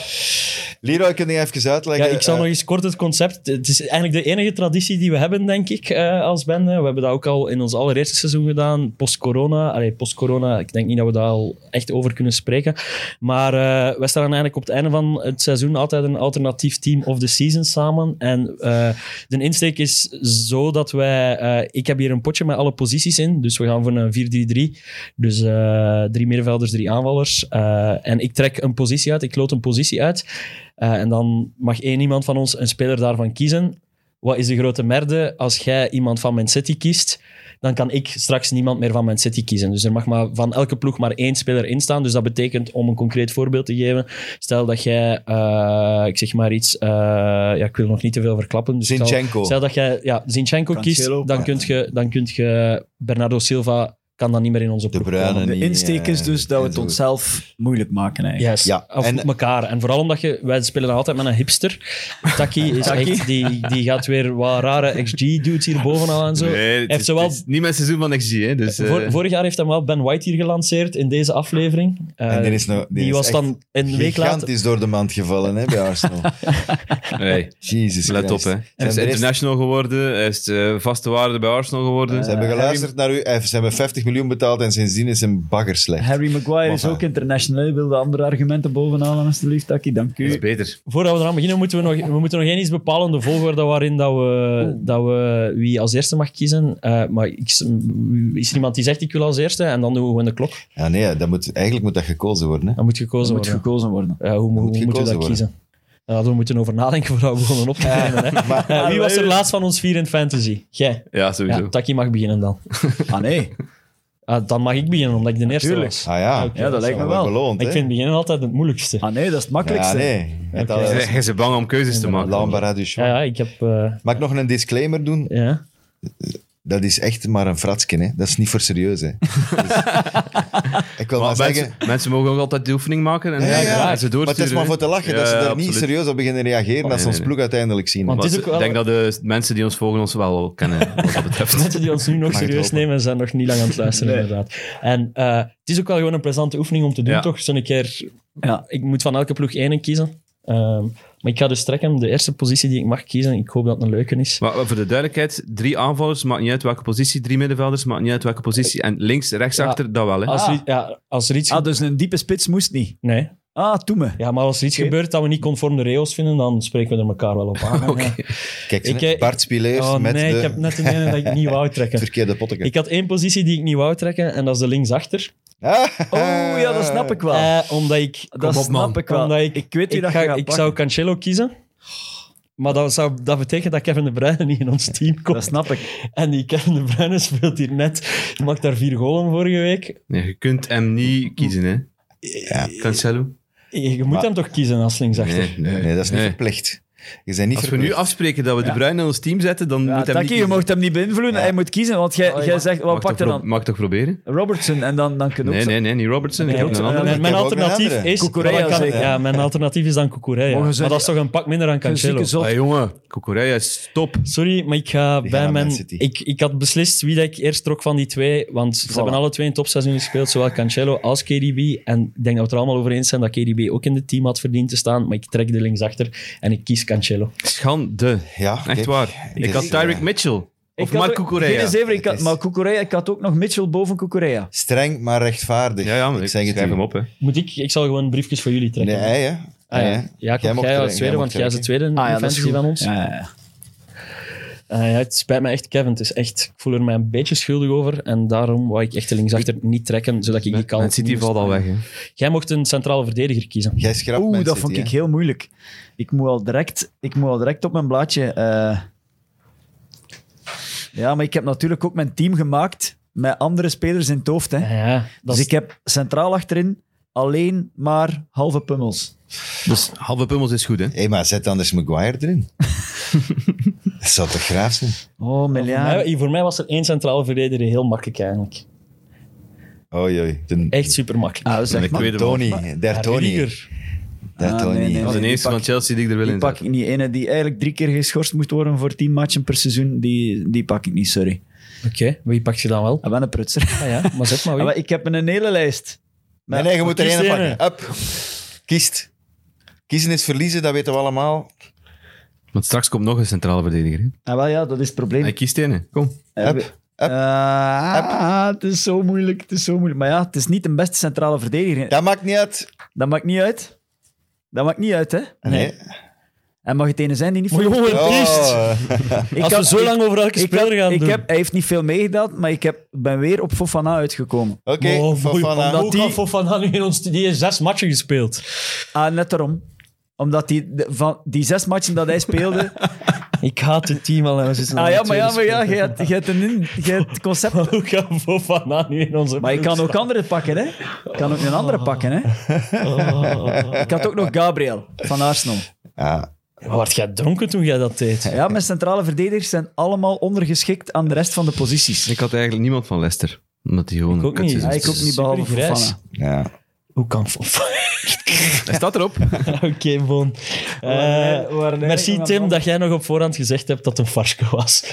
Leroy, kun je even ja, uitleggen? ik zal nog eens kort het concept... Het is eigenlijk de enige traditie die we hebben, denk ik, eh, als bende. We hebben dat ook al in ons allereerste seizoen gedaan, post-corona. Allee, post-corona, ik denk niet dat we daar al echt over kunnen spreken. Maar eh wij staan eigenlijk op het einde van het seizoen altijd een alternatief team of the season samen. En eh, de insteek is zo dat wij... eh, ik heb hier een potje met alle posities in, dus we gaan voor een 4-3-3. Dus eh, drie middenvelders, drie aanvallers. Eh, en ik trek een positie uit, ik loot een positie uit. Eh, en dan mag één iemand van ons een speler daarvan kiezen. Wat is de grote merde? Als jij iemand van Man City kiest, dan kan ik straks niemand meer van Man City kiezen. Dus er mag maar van elke ploeg maar één speler in staan. Dus dat betekent, om een concreet voorbeeld te geven, stel dat jij, eh, ik zeg maar iets, eh, ja, ik wil nog niet te veel verklappen. Dus ik zal- Eh, Zinchenko. Stel dat jij ja, Zinchenko Cancelo, kiest, dan ja. kun, je, dan kun je Bernardo Silva kan dan niet meer in onze De ploeg Bruyne. komen. de niet, insteek is eh, dus dat we en het zo. onszelf moeilijk maken eigenlijk. Yes. Ja, Of en- op elkaar. En vooral omdat je... Wij spelen altijd met een hipster. Taki is echt... Die, die gaat weer wat rare XG-dudes hier bovenal en zo. het heeft is- ze wel- het is niet mijn seizoen van XG, hè. Dus, eh, Vor- vorig jaar heeft hem wel Ben White hier gelanceerd in deze aflevering. Eh, En die is nou- die die is was echt dan een week later... Gigantisch door de mand gevallen hè, bij Arsenal. hey, Jezus let op, Christus. hè. Hij Zijn is de rest- international geworden. Hij is eh, vaste waarde bij Arsenal geworden. Eh, Ze hebben geluisterd naar u, eh, ze hebben 50 miljoen betaald en sindsdien is een bagger slecht. Harry Maguire is Moffa. ook international. Je wil de andere argumenten bovenhalen, alsjeblieft, Taki. Dank Dat is u. beter. Voordat we eraan beginnen, moeten we nog, we moeten nog één iets bepalen. De volgorde waarin dat we, dat we wie als eerste mag kiezen. Eh, maar ik, is er iemand die zegt ik wil als eerste? En dan doen we gewoon de klok. Ja, nee, dat moet, eigenlijk moet dat gekozen worden. Hè. Dan moet gekozen Er moet worden. gekozen worden. Ja, Eh, hoe hoe moet moeten we dat gekozen worden. kiezen? Daar hadden we moeten over nadenken voordat we begonnen op te nemen. hè. Eh, wie was er laatst van ons vier in fantasy? Jij. Ja, sowieso. Ja, Taki mag beginnen dan. Ah nee, Ah, dan mag ik beginnen, omdat ik de eerste Tuurlijk. was. Ah ja, Oké. ja, dat lijkt me wel. beloond. ik hè. vind beginnen altijd het moeilijkste. Ah nee, dat is het ja, makkelijkste. nee. Het Oké. al- Hij is bang om keuzes te maken. Lambara du Ja, Chou. ja, ik heb... eh, Mag ik nog een disclaimer doen? ja. Dat is echt maar een fratsje, hè. Dat is niet voor serieus, hè. Dus- ik wil maar, Maar zeggen... mensen, mensen mogen ook altijd de oefening maken en, en ze doorsturen. maar het is maar voor te lachen dat ze Ja, daar niet absoluut. Oh, serieus op beginnen reageren als nee, ze ons nee. ploeg uiteindelijk zien. Want- Maar Het is ze- ook wel- Ik denk dat de mensen die ons volgen ons wel kennen, wat dat betreft. Mensen die ons nu nog Mag ik serieus lopen? nemen, zijn nog niet lang aan het luisteren, Nee. inderdaad. En eh, het is ook wel gewoon een plezante oefening om te doen, Ja. toch? Zo'n keer... Ja. Ik moet van elke ploeg één kiezen. Ehm, maar ik ga dus trekken. De eerste positie die ik mag kiezen, ik hoop dat het een leuke is. Maar voor de duidelijkheid, drie aanvallers, maakt niet uit welke positie. Drie middenvelders, maakt niet uit welke positie. En links, rechts, Ja. achter, dat wel. Hè. Als er, Ah. iets- ja, als er iets... Ah, dus een diepe spits moest niet. Nee. Ah, toe me. Ja, maar als er iets Oké. gebeurt dat we niet conform de regels vinden, dan spreken we er elkaar wel op aan. Oké. Kijk, Ik, hè, eh, Bart Spileers Oh met nee, de ik heb net een ene dat ik niet wou trekken. verkeerde potteken. Ik had één positie die ik niet wou trekken, en dat is de linksachter. Ah! Oh ja, dat snap ik wel. Eh omdat ik... dat op, man. snap ik wel. Omdat Ik, ik- weet wie Ik, dat ga, gaat ik pakken. zou Cancelo kiezen. Maar dat, zou, dat betekent dat Kevin De Bruyne niet in ons team Dat komt. snap ik. En die Kevin De Bruyne speelt hier net. Die maakt daar vier golen vorige week. Nee, je kunt hem niet kiezen, hè. Cancelo? Je moet hem toch kiezen als linksachter? Nee, dat is niet Nee. verplicht. Je bent niet Als we nu verplicht. afspreken dat we de Bruin in ons team zetten, dan Ja, moet hij Taki, je mocht hem niet beïnvloeden. Hij moet kiezen, want jij, Oh, jij ja. zegt, wat Mag, pakt toch er pro- dan? mag toch proberen? Robertson, en dan, dan kunnen Nee, we ook zo- nee, nee, niet Robertson. Ik Mijn, heb een alter- andere. Ik mijn heb ook een alternatief andere. is... Cucurella maar dat kan- zeker. ja, mijn alternatief is dan Cucurella. Mogen Maar ze- dat is toch een pak minder dan Een zieke Cancelo. zot. Ah, jongen, Kokoreja, stop. Sorry, maar ik Die gaan ga bij naar Man mijn... City. Ik, ik had beslist wie dat ik eerst trok van die twee, want ze hebben alle twee een topseizoen gespeeld, zowel Cancelo als KDB. En ik denk dat we het er allemaal over eens zijn dat KDB ook in het team had verdiend te staan, maar ik trek de linksachter en ik kies Cancelo. Schande. Ja, Echt kijk. waar. Ik Dus, had Tyrick eh, Mitchell. Of Ik had Mark ook- Geen Kokoreja. zeven, ik had- Het is- maar Cucurella, ik had ook nog Mitchell boven Cucurella. Streng, maar rechtvaardig. Ja, ja, maar ik ik zeg het schrijf u. hem op, hè. Moet ik... Ik zal gewoon briefjes voor jullie trekken. Nee, hij, hè? Ah, Hij, ja. hè? Jacob, Jij jij, mag als trekken, tweede, jij want mag jij is de tweede Ah, ja, dat is defensie goed. van ons. Ja, ja, ja. Ah, ja, het spijt me echt, Kevin. Het is echt, ik voel er mij een beetje schuldig over. En daarom wou ik echt de linksachter niet trekken, zodat ik die kan. Man City valt al weg, hè. Jij mocht een centrale verdediger kiezen. Jij schrapt Oeh, Man dat City, vond ik hè? heel moeilijk. Ik moet al direct, ik moet al direct op mijn blaadje. eh, Ja, maar ik heb natuurlijk ook mijn team gemaakt met andere spelers in het hoofd. Hè. Ah, Ja, dat dus is, ik heb centraal achterin alleen maar halve pummels. Dus halve pummels is goed, hè. Hé, maar zet anders Maguire erin. dat zou toch graaf zijn? Oh, voor, miljard. mij, voor mij was er één centrale verdediger heel makkelijk eigenlijk. Oei, oei. De, Echt super makkelijk. Ah, zeg Ik maar. weet het wel. Ah, Tony. Der Tony. Der Ah, Tony. nee, nee, Dat is de die eerste pak- van Chelsea die ik er wil Die in pak ik niet. Ene die eigenlijk drie keer geschorst moet worden voor tien matchen per seizoen, die, die pak ik niet, sorry. Oké, wie pak je dan wel? Ah, ben een prutser. Ah, ja, maar zeg maar Ah, wie. maar ik heb een hele lijst. Nee, nee, je moet er Kies één de pakken. Up. Kiest. Kiezen is verliezen, dat weten we allemaal. Want straks komt nog een centrale verdediger, hè. Ah, wel, ja, dat is het probleem. Hij kiest één, hè. Kom. Eh, we- Up. Eh, ah, het is zo moeilijk, het is zo moeilijk. Maar ja, het is niet de beste centrale verdediger. Dat maakt niet uit. Dat maakt niet uit. Dat maakt niet uit, hè. Nee. En mag het ene zijn die niet Maar veel- jongen, beest. Oh, Ik Als we had- zo ik- lang over elke ik speler had- gaan ik doen. heb, hij heeft niet veel meegedaan, maar ik heb, ben weer op Fofana uitgekomen. Oké, Oh, boei, Fofana. Hoe die- kan Fofana nu in ons... Die heeft zes matchen gespeeld. Ah, net daarom. Omdat die, de- van die zes matchen dat hij speelde... Ik haat het team al. en we zitten ah aan ja, de maar ja, maar tweede ja, speeldag. jij hebt, jij hebt een in- jij hebt het concept... Hoe gaan Fofana nu in onze Maar je ploeg kan ook staan? andere pakken, hè. Je kan ook een andere pakken, hè. Ik had ook nog Gabriel van Arsenal. Ja, Maar Word jij dronken toen jij dat deed? Ja, mijn centrale verdedigers zijn allemaal ondergeschikt aan de rest van de posities. Ik had eigenlijk niemand van Leicester. Omdat die gewoon Ik ook een kutseizoen Ja, niet. ik ook speelt. niet, behalve Supergrijs. Fofana. ja. Hoe kan Fofana... Hij staat erop. Oké, Bon. Eh, Oh, merci Tim dat jij nog op voorhand gezegd hebt dat het een farce was.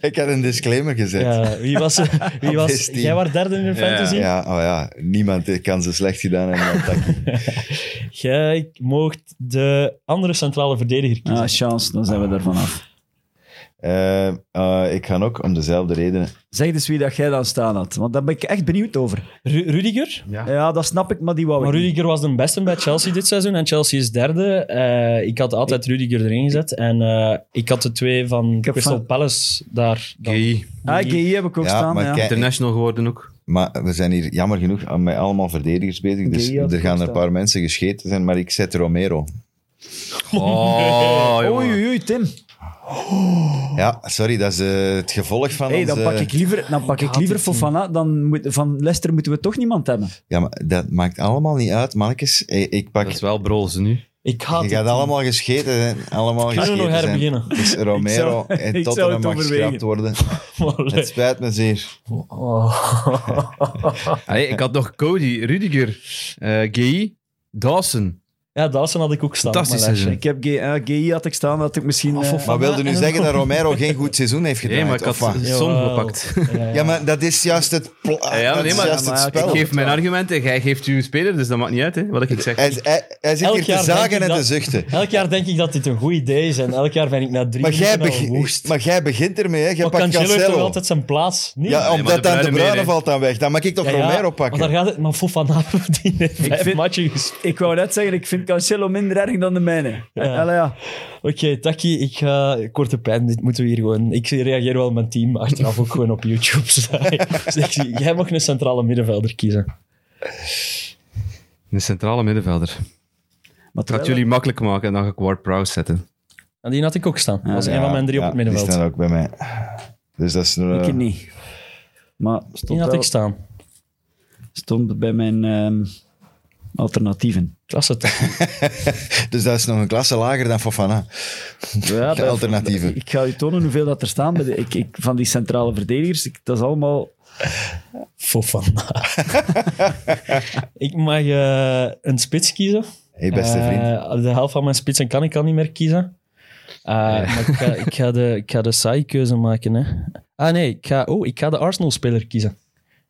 Ik had een disclaimer gezet. Ja. Ja, wie was... Wie was team. jij was derde in de fantasy? oh ja, niemand kan ze slecht gedaan hebben. dan Taki. Jij mocht de andere centrale verdediger kiezen. Ah, chance, dan zijn we er vanaf. Eh, eh, ik ga ook om dezelfde redenen. Zeg dus wie dat jij dan staan had, want daar ben ik echt benieuwd over. Ru- Rudiger? Ja, dat snap ik, maar die wou ik Maar niet. Rudiger was de beste bij Chelsea dit seizoen en Chelsea is derde. Eh, ik had altijd Rudiger erin gezet en eh, ik had de twee van heb Crystal van- Palace daar. dan. Gay. Ah, GI heb ik ook Ja, staan, maar ja. kijk- International geworden ook. Maar we zijn hier jammer genoeg aan- met allemaal verdedigers bezig. Dus Drie had er gaan ik een paar mensen gescheten zijn, maar ik zet Romero. Oh, jongen. Oei, oei, oei, Tim. Ja, sorry, dat is eh, het gevolg van Hey, onze... dan pak ik liever, dan pak ik liever Fofana, dan moet, van Leicester moeten we toch niemand hebben. Ja, maar dat maakt allemaal niet uit, mannetjes. Hey, ik pak... Dat is wel broze nu. Ik haat Je het gaat team. allemaal gescheten zijn. Allemaal Kunnen we gescheten nog zijn. herbeginnen? Dus Romero Ik zou- en ik zou Tottenham het mag overwegen. geschrapt worden. Maar, Het spijt me zeer. Oh. Allee, ik had nog Cody, Rudiger, eh Gay, Dawson. Ja, Dawson had ik ook staan. op mijn Fantastisch lijstje. seizoen. Ik heb GI, ah, GI had ik staan, dat ik misschien... Ah, eh, Maar wilde nu en- zeggen dat Romero geen goed seizoen heeft gedaan? Nee, maar ik had Son Jawel. gepakt. Ja, Ja, maar dat is juist het, pla- Ja, dat nee, is maar- juist maar het ja, spel. Ik geef mijn argumenten, jij geeft uw speler, dus dat maakt niet uit hè, wat ik zeg. Hij, hij, hij zit Elk hier te jaar denk zagen ik en te dat- zuchten. Elk jaar denk ik dat dit een goed idee is en elk jaar ben ik na drie Maar jij, minuten al beg- woest. maar jij begint ermee, hè? Jij Maar pakt Cancelo heeft toch Cancelo. altijd zijn plaats? Niet? Ja, Nee, maar omdat de dan de Bruyne meer, Bruyne hè. valt dan weg. Dan mag ik toch Romero pakken. Maar, daar gaat het, maar Fofana die heeft vijf vind- matchen gespeeld. Ik wou net zeggen, ik vind Cancelo minder erg dan de mijne. Ja. Allee, ja. Oké, Taki, ik ga... Korte pijn, dit moeten we hier gewoon... Ik reageer wel mijn team achteraf ook gewoon op YouTube. sorry. Dus ik zie- jij mag een centrale middenvelder kiezen. Een centrale middenvelder. Maar Ik ga het jullie makkelijk maken en dan ga ik Ward Prowse zetten. En die had ik ook staan. Dat was een van mijn drie op het Die middenveld. staan ook bij mij. Dus dat is een, Ik eh, niet. Maar Die stond, had wel- ik staan. stond bij mijn ehm, alternatieven. Klasse toch? Dus dat is nog een klasse lager dan Fofana. Ja, De bij- alternatieven. Ik ga u tonen hoeveel dat er staan bij de- ik, ik, van die centrale verdedigers. Ik- dat is allemaal... Fofana. ik mag eh, een spits kiezen. Hey, beste vriend. Eh, de helft van mijn spitsen kan ik al niet meer kiezen. Eh, Maar ik ga, ik ga de, ik ga de saaie keuze maken. Hè. Ah nee, ik ga, oh, ik ga de Arsenal-speler kiezen.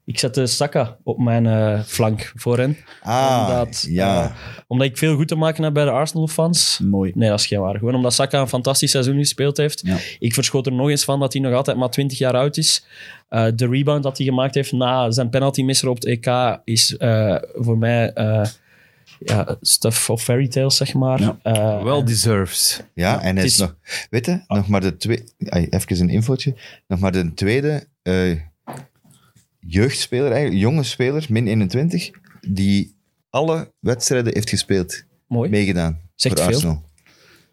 Ik zet de Saka op mijn eh, flank voor hen. ah, omdat, ja. Mm. eh, omdat ik veel goed te maken heb bij de Arsenal-fans. Mooi. Nee, dat is geen waar. Gewoon omdat Saka een fantastisch seizoen gespeeld heeft. Ja. Ik verschoot er nog eens van dat hij nog altijd maar 20 jaar oud is. Eh, de rebound dat hij gemaakt heeft na zijn penaltymisser op het EK is eh, voor mij eh, ja, stuff of fairy tales, zeg maar. Ja. Eh, Well deserves. Ja, en hij het is is- nog... Weet je, nog maar de tweede... Even een infootje. Nog maar de tweede eh, jeugdspeler, eigenlijk, jonge speler, min 21, die alle wedstrijden heeft gespeeld. mooi. Meegedaan. Zegt voor veel. Arsenal.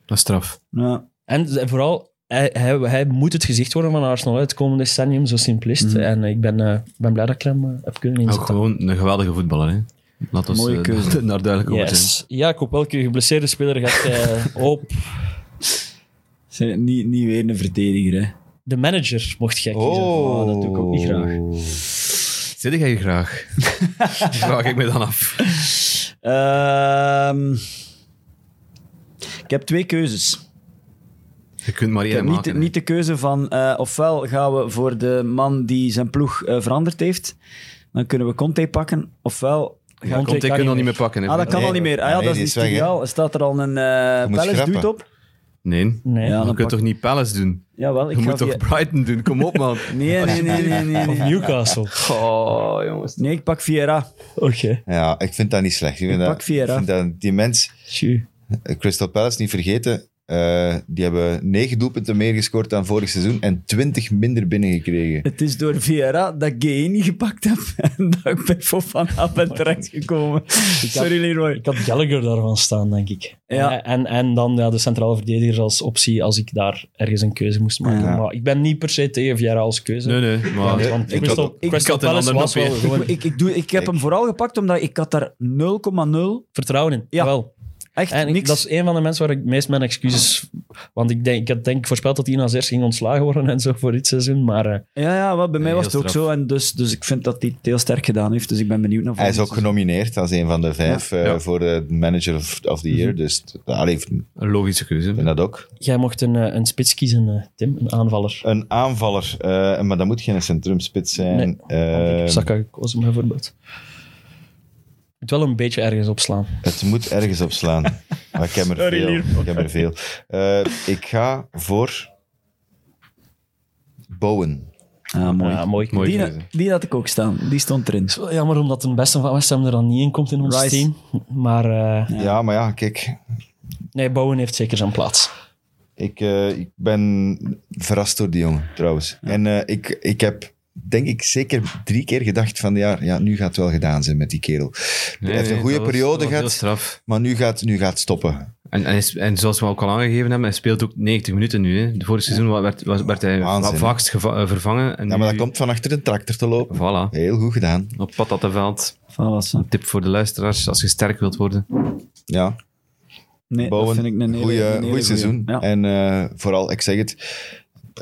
Dat is straf. Ja. En z- vooral, hij, hij, hij moet het gezicht worden van Arsenal. hè. Het komende decennium, zo simplist. Mhm. En ik ben, eh, ben blij dat ik hem eh, heb kunnen Oh, Ook inzetten. gewoon een geweldige voetballer, hè. Laat ons Mooie eh, keuze. daar- daar duidelijk over zijn. Yes. Jacob, welke geblesseerde speler gaat jij op? Zijn het niet, niet weer een verdediger, hè. De manager mocht jij kiezen. Oh, dat doe ik ook niet graag. Zit ik hier graag? Vraag ik me dan af. Ehm, ik heb twee keuzes. Je kunt maar Ik één heb maken. niet, de- hè. niet de keuze van eh, ofwel gaan we voor de man die zijn ploeg eh, veranderd heeft, dan kunnen we Conte pakken, ofwel... ja, Conte kunnen we nog niet meer pakken. Hè. Ah, dat kan Nee. al niet meer. Ah, ja, Nee, dat is die niet is weg, hè. ideaal. Er staat er al een eh moet Palace schrappen. dude op. Nee, Nee. Ja, je dan kunt pak... toch niet Palace doen? Jawel, ik Je ga moet toch via- Brighton doen? Kom op, man. Nee, nee, nee, nee, nee. Of nee. Newcastle. Oh, jongens. Nee, ik pak Vieira. Oké. Ja, ik vind dat niet slecht. Ik vind, Ik dat, pak Vieira. ik vind dat die mens... eh, Tjoe. Crystal Palace, niet vergeten... eh, die hebben negen doelpunten meer gescoord dan vorig seizoen en twintig minder binnengekregen. Het is door Vieira dat ik GE niet gepakt heb en dat ik bij Fofana ben terechtgekomen. Sorry, Leroy. Ik had Gallagher daarvan staan, denk ik. Ja. Eh, En, en dan ja, de centrale verdedigers als optie als ik daar ergens een keuze moest maken. Ja. Maar ik ben niet per se tegen Vieira als keuze. Nee, nee, maar... Want- Want ik Crystal, had- ik Crystal had een Palace ander was wel nog weer. gewoon Ik, ik, doe, ik heb hem vooral gepakt omdat ik had daar 0,0 vertrouwen in. Ja. Wel. echt En ik- niks... dat is een van de mensen waar ik het meest mijn excuses... Want ik, denk, ik had denk ik voorspeld dat Ina Zers ging ontslagen worden en zo voor dit seizoen. Maar eh, Ja, ja wel, bij mij Heel was het ook straf. zo. En dus, dus ik vind dat hij het heel sterk gedaan heeft. Dus ik ben benieuwd naar Hij is ook volgend genomineerd als een van de vijf eh, Ja. voor de manager of, of the year. Dus t- allee, ik vind Een logische keuze. hè. dat ook. jij mocht een, eh, een spits kiezen, eh, Tim. Een aanvaller. Een aanvaller, eh, maar dat moet geen centrumspits zijn. Want ik Eh, Ehm. heb Saka gekozen, bijvoorbeeld. Moet wel een beetje ergens opslaan. het moet ergens op slaan. maar ik heb er veel. Ik, heb er veel. Eh, ik ga voor Bowen. seizoen. Ah, mooi. Ja, mooi. Mooi die, keuze. die had ik ook staan. Die stond erin. Het is wel jammer omdat de beste van West Ham er dan niet in komt in ons Rice. team. Maar eh, Ja. maar ja, kijk. nee, Bowen heeft zeker zijn plaats. Ik, eh, ik ben verrast door die jongen, trouwens. En eh, ik, ik heb, denk ik, zeker drie keer gedacht van... Ja, ja, nu gaat het wel gedaan zijn met die kerel. Nee, Hij heeft nee, een goede dat was- periode dat was gehad. heel straf. Maar nu gaat, nu gaat het stoppen. En, en, is- en zoals we ook al aangegeven hebben, hij speelt ook 90 minuten nu. Hè. Vorig seizoen wa- werd, was- werd hij Waanzin, va- hè. vaakst geva- eh, vervangen. En Ja, Nou, maar dat nu- komt van achter een tractor te lopen. Voilà, Heel goed gedaan. op Patattenveld. Van was dat? Tip voor de luisteraars, als je sterk wilt worden. Ja, Nee, dat Bowen, vind ik een hele- goeie- een hele goeie goeie. seizoen. Ja. En eh, vooral, ik zeg het,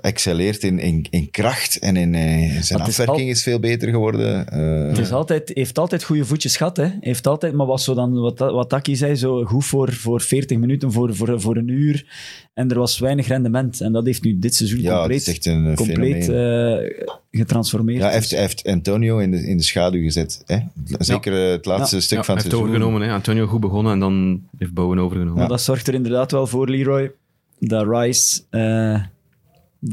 excelleert in, in, in kracht en in, eh, zijn het is afwerking is veel beter geworden. Eh, Het is altijd, heeft altijd goede voetjes gehad, hè. Heeft altijd, maar was zo dan, wat, dat- wat Taki zei, zo goed voor, voor 40 minuten, voor, voor, voor een uur. En er was weinig rendement. En dat heeft nu dit seizoen ja, het is compleet, echt een eh, compleet fenomeen. eh, getransformeerd. ja, hij heeft, hij heeft Antonio in de, in de schaduw gezet. Hè? Zeker eh, het laatste stuk Ja, van hij het heeft seizoen. overgenomen. Hè. Antonio goed begonnen en dan heeft Bowen overgenomen. Maar dat zorgt er inderdaad wel voor, Leroy, dat Rice eh,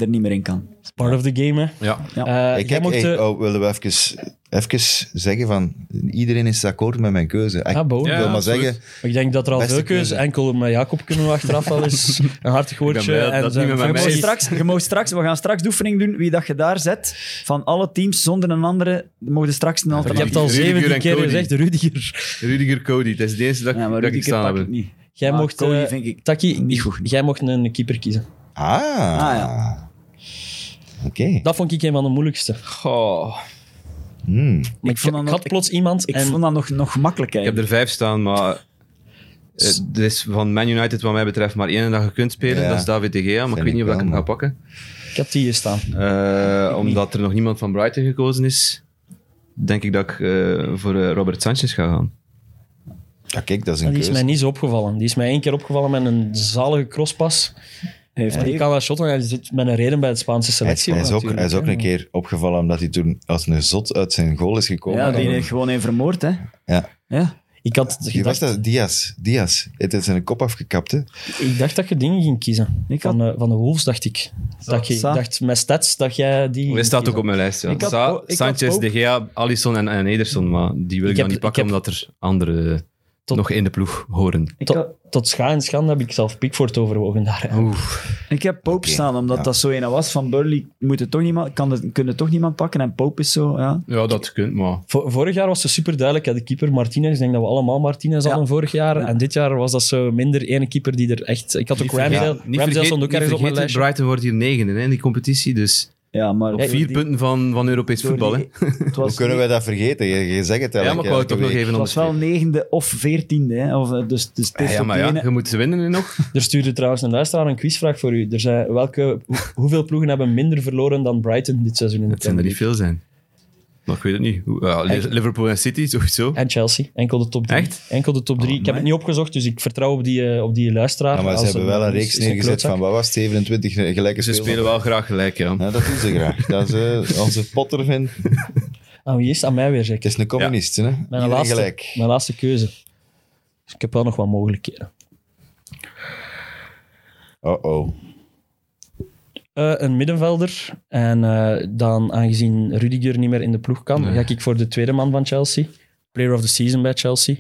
er niet meer in kan. Part of the game, hè. Ja. Eh, Hey, jij kijk, mocht hey, de- oh, wilden we even, even zeggen van... Iedereen is akkoord met mijn keuze. Ik Ah, Bowen. wil Ja, maar absoluut. zeggen... Ik denk dat er al Beste veel keuzes... keuze. Enkel met Jacob kunnen we achteraf wel eens een hartig woordje... blij dat en dat zijn niet meer met Je mij mag is. vervolgens- straks, je mag straks, we gaan straks de oefening doen. Wie dat je daar zet, van alle teams zonder een andere, mogen straks een Ik heb alternatief. het al Rudiger zeven en keer Cody. gezegd, Rudiger. Rudiger Cody, dat is de eerste dat, Ja, maar dat ik Rudiger staan pak ik heb. niet. Jij Maar mocht... Cody eh, vind ik Taki, niet goed. jij mocht een keeper kiezen. Ah, ja. oké. Dat vond ik een van de moeilijkste. Goh. Hmm. Ik, vond dat ik nog- had plots iemand Ik en vond dat nog, nog makkelijk Ik heb eigenlijk. er vijf staan, maar eh, er is van Man United, wat mij betreft, maar één dag je kunt spelen. Ja. Dat is David De Gea, maar Vind ik weet niet ik of dat ik wel, hem ga pakken. Ik had die hier staan. Eh, omdat er nog niemand van Brighton gekozen is, denk ik dat ik eh, voor eh, Robert Sanchez ga gaan. Ja, kijk, dat is En een die is mij keuze. niet zo opgevallen. Die is mij één keer opgevallen met een zalige crosspas. Heeft En die kan dat shotten. Hij zit met een reden bij het Spaanse Hij selectie. hij is, ook, hij natuurlijk, is ook hè. een keer opgevallen omdat hij toen als een zot uit zijn goal is gekomen. Ja, die Dan- heeft gewoon een vermoord, hè. Ja. Ja. Ik, had Die was gedacht, dat, Diaz. Diaz. Het is zijn kop afgekapt, hè. ik dacht dat je dingen ging kiezen. Ik Van, had- eh, van de Wolves dacht ik. Dat je, ik Sa. dacht met stats dat jij die. Hij ging staat ook kiezen. op mijn lijst. Ja. Ik had Sa, ook- ik had Sanchez, ook- De Gea, Alisson en, en Ederson, maar die wil ik, dan Ik heb- niet pakken ik heb- omdat er andere Tot- nog in de ploeg horen. Ik, Tot, had- tot scha en schande heb ik zelf Pickford overwogen daar. hè. ik heb Pope Oké, staan, omdat ja. dat zo een was van Burley. Moet het toch niemand, kan het, kunnen toch niemand pakken en Pope is zo, ja. Ja, dat kunt, maar... Vo- vorig jaar was ze super duidelijk. hè, De keeper Martinez. Ik denk dat we allemaal Martinez hadden vorig jaar. En dit jaar was dat zo minder ene keeper die er echt. Ik had ook Ramsdale. Ramsdale stond ook ergens op mijn lijstje. Brighton wordt hier negende hè, in die competitie, dus Ja, maar... op vier die- punten van, van Europees voetbal. Hè. Het was, Hoe kunnen wij dat vergeten? Je, je zegt het elke, Ja, maar ik wou het toch elke nog week. even het was wel onderstrepen. negende of veertiende, hè. Of, eh, dus, dus het is Ah, Ja, op maar die ja, ene- je moet ze winnen hè, nog. Er stuurde trouwens een luisteraar een quizvraag voor u. Er zei, welke, hoe- hoeveel ploegen hebben minder verloren dan Brighton dit seizoen in de Het zijn er Premier niet League? veel zijn. Maar ik weet het niet. Hoe- ja, Liverpool en City, sowieso. En Chelsea. Enkel de top 3. Echt? Enkel de top 3. ik heb het niet opgezocht, dus ik vertrouw op die, eh, op die luisteraar. Oh, Ja, maar ze Als hebben een- wel een is- reeks is neergezet klootzak. van, wat was het, 27 gelijke Ze speels? spelen wel graag gelijk, ja. Ja, dat doen ze graag. Dat is eh, onze potter vindt. Aan Ah, wie is het? Aan mij weer, Het zeker. is een communist, hè? Mijn Iedereen laatste, gelijk. mijn laatste keuze. Dus ik heb wel nog wat mogelijkheden. Oh-oh. Eh, een middenvelder. En eh, dan, aangezien Rudiger niet meer in de ploeg kan, ga ik voor de tweede man van Chelsea. Player of the season bij Chelsea.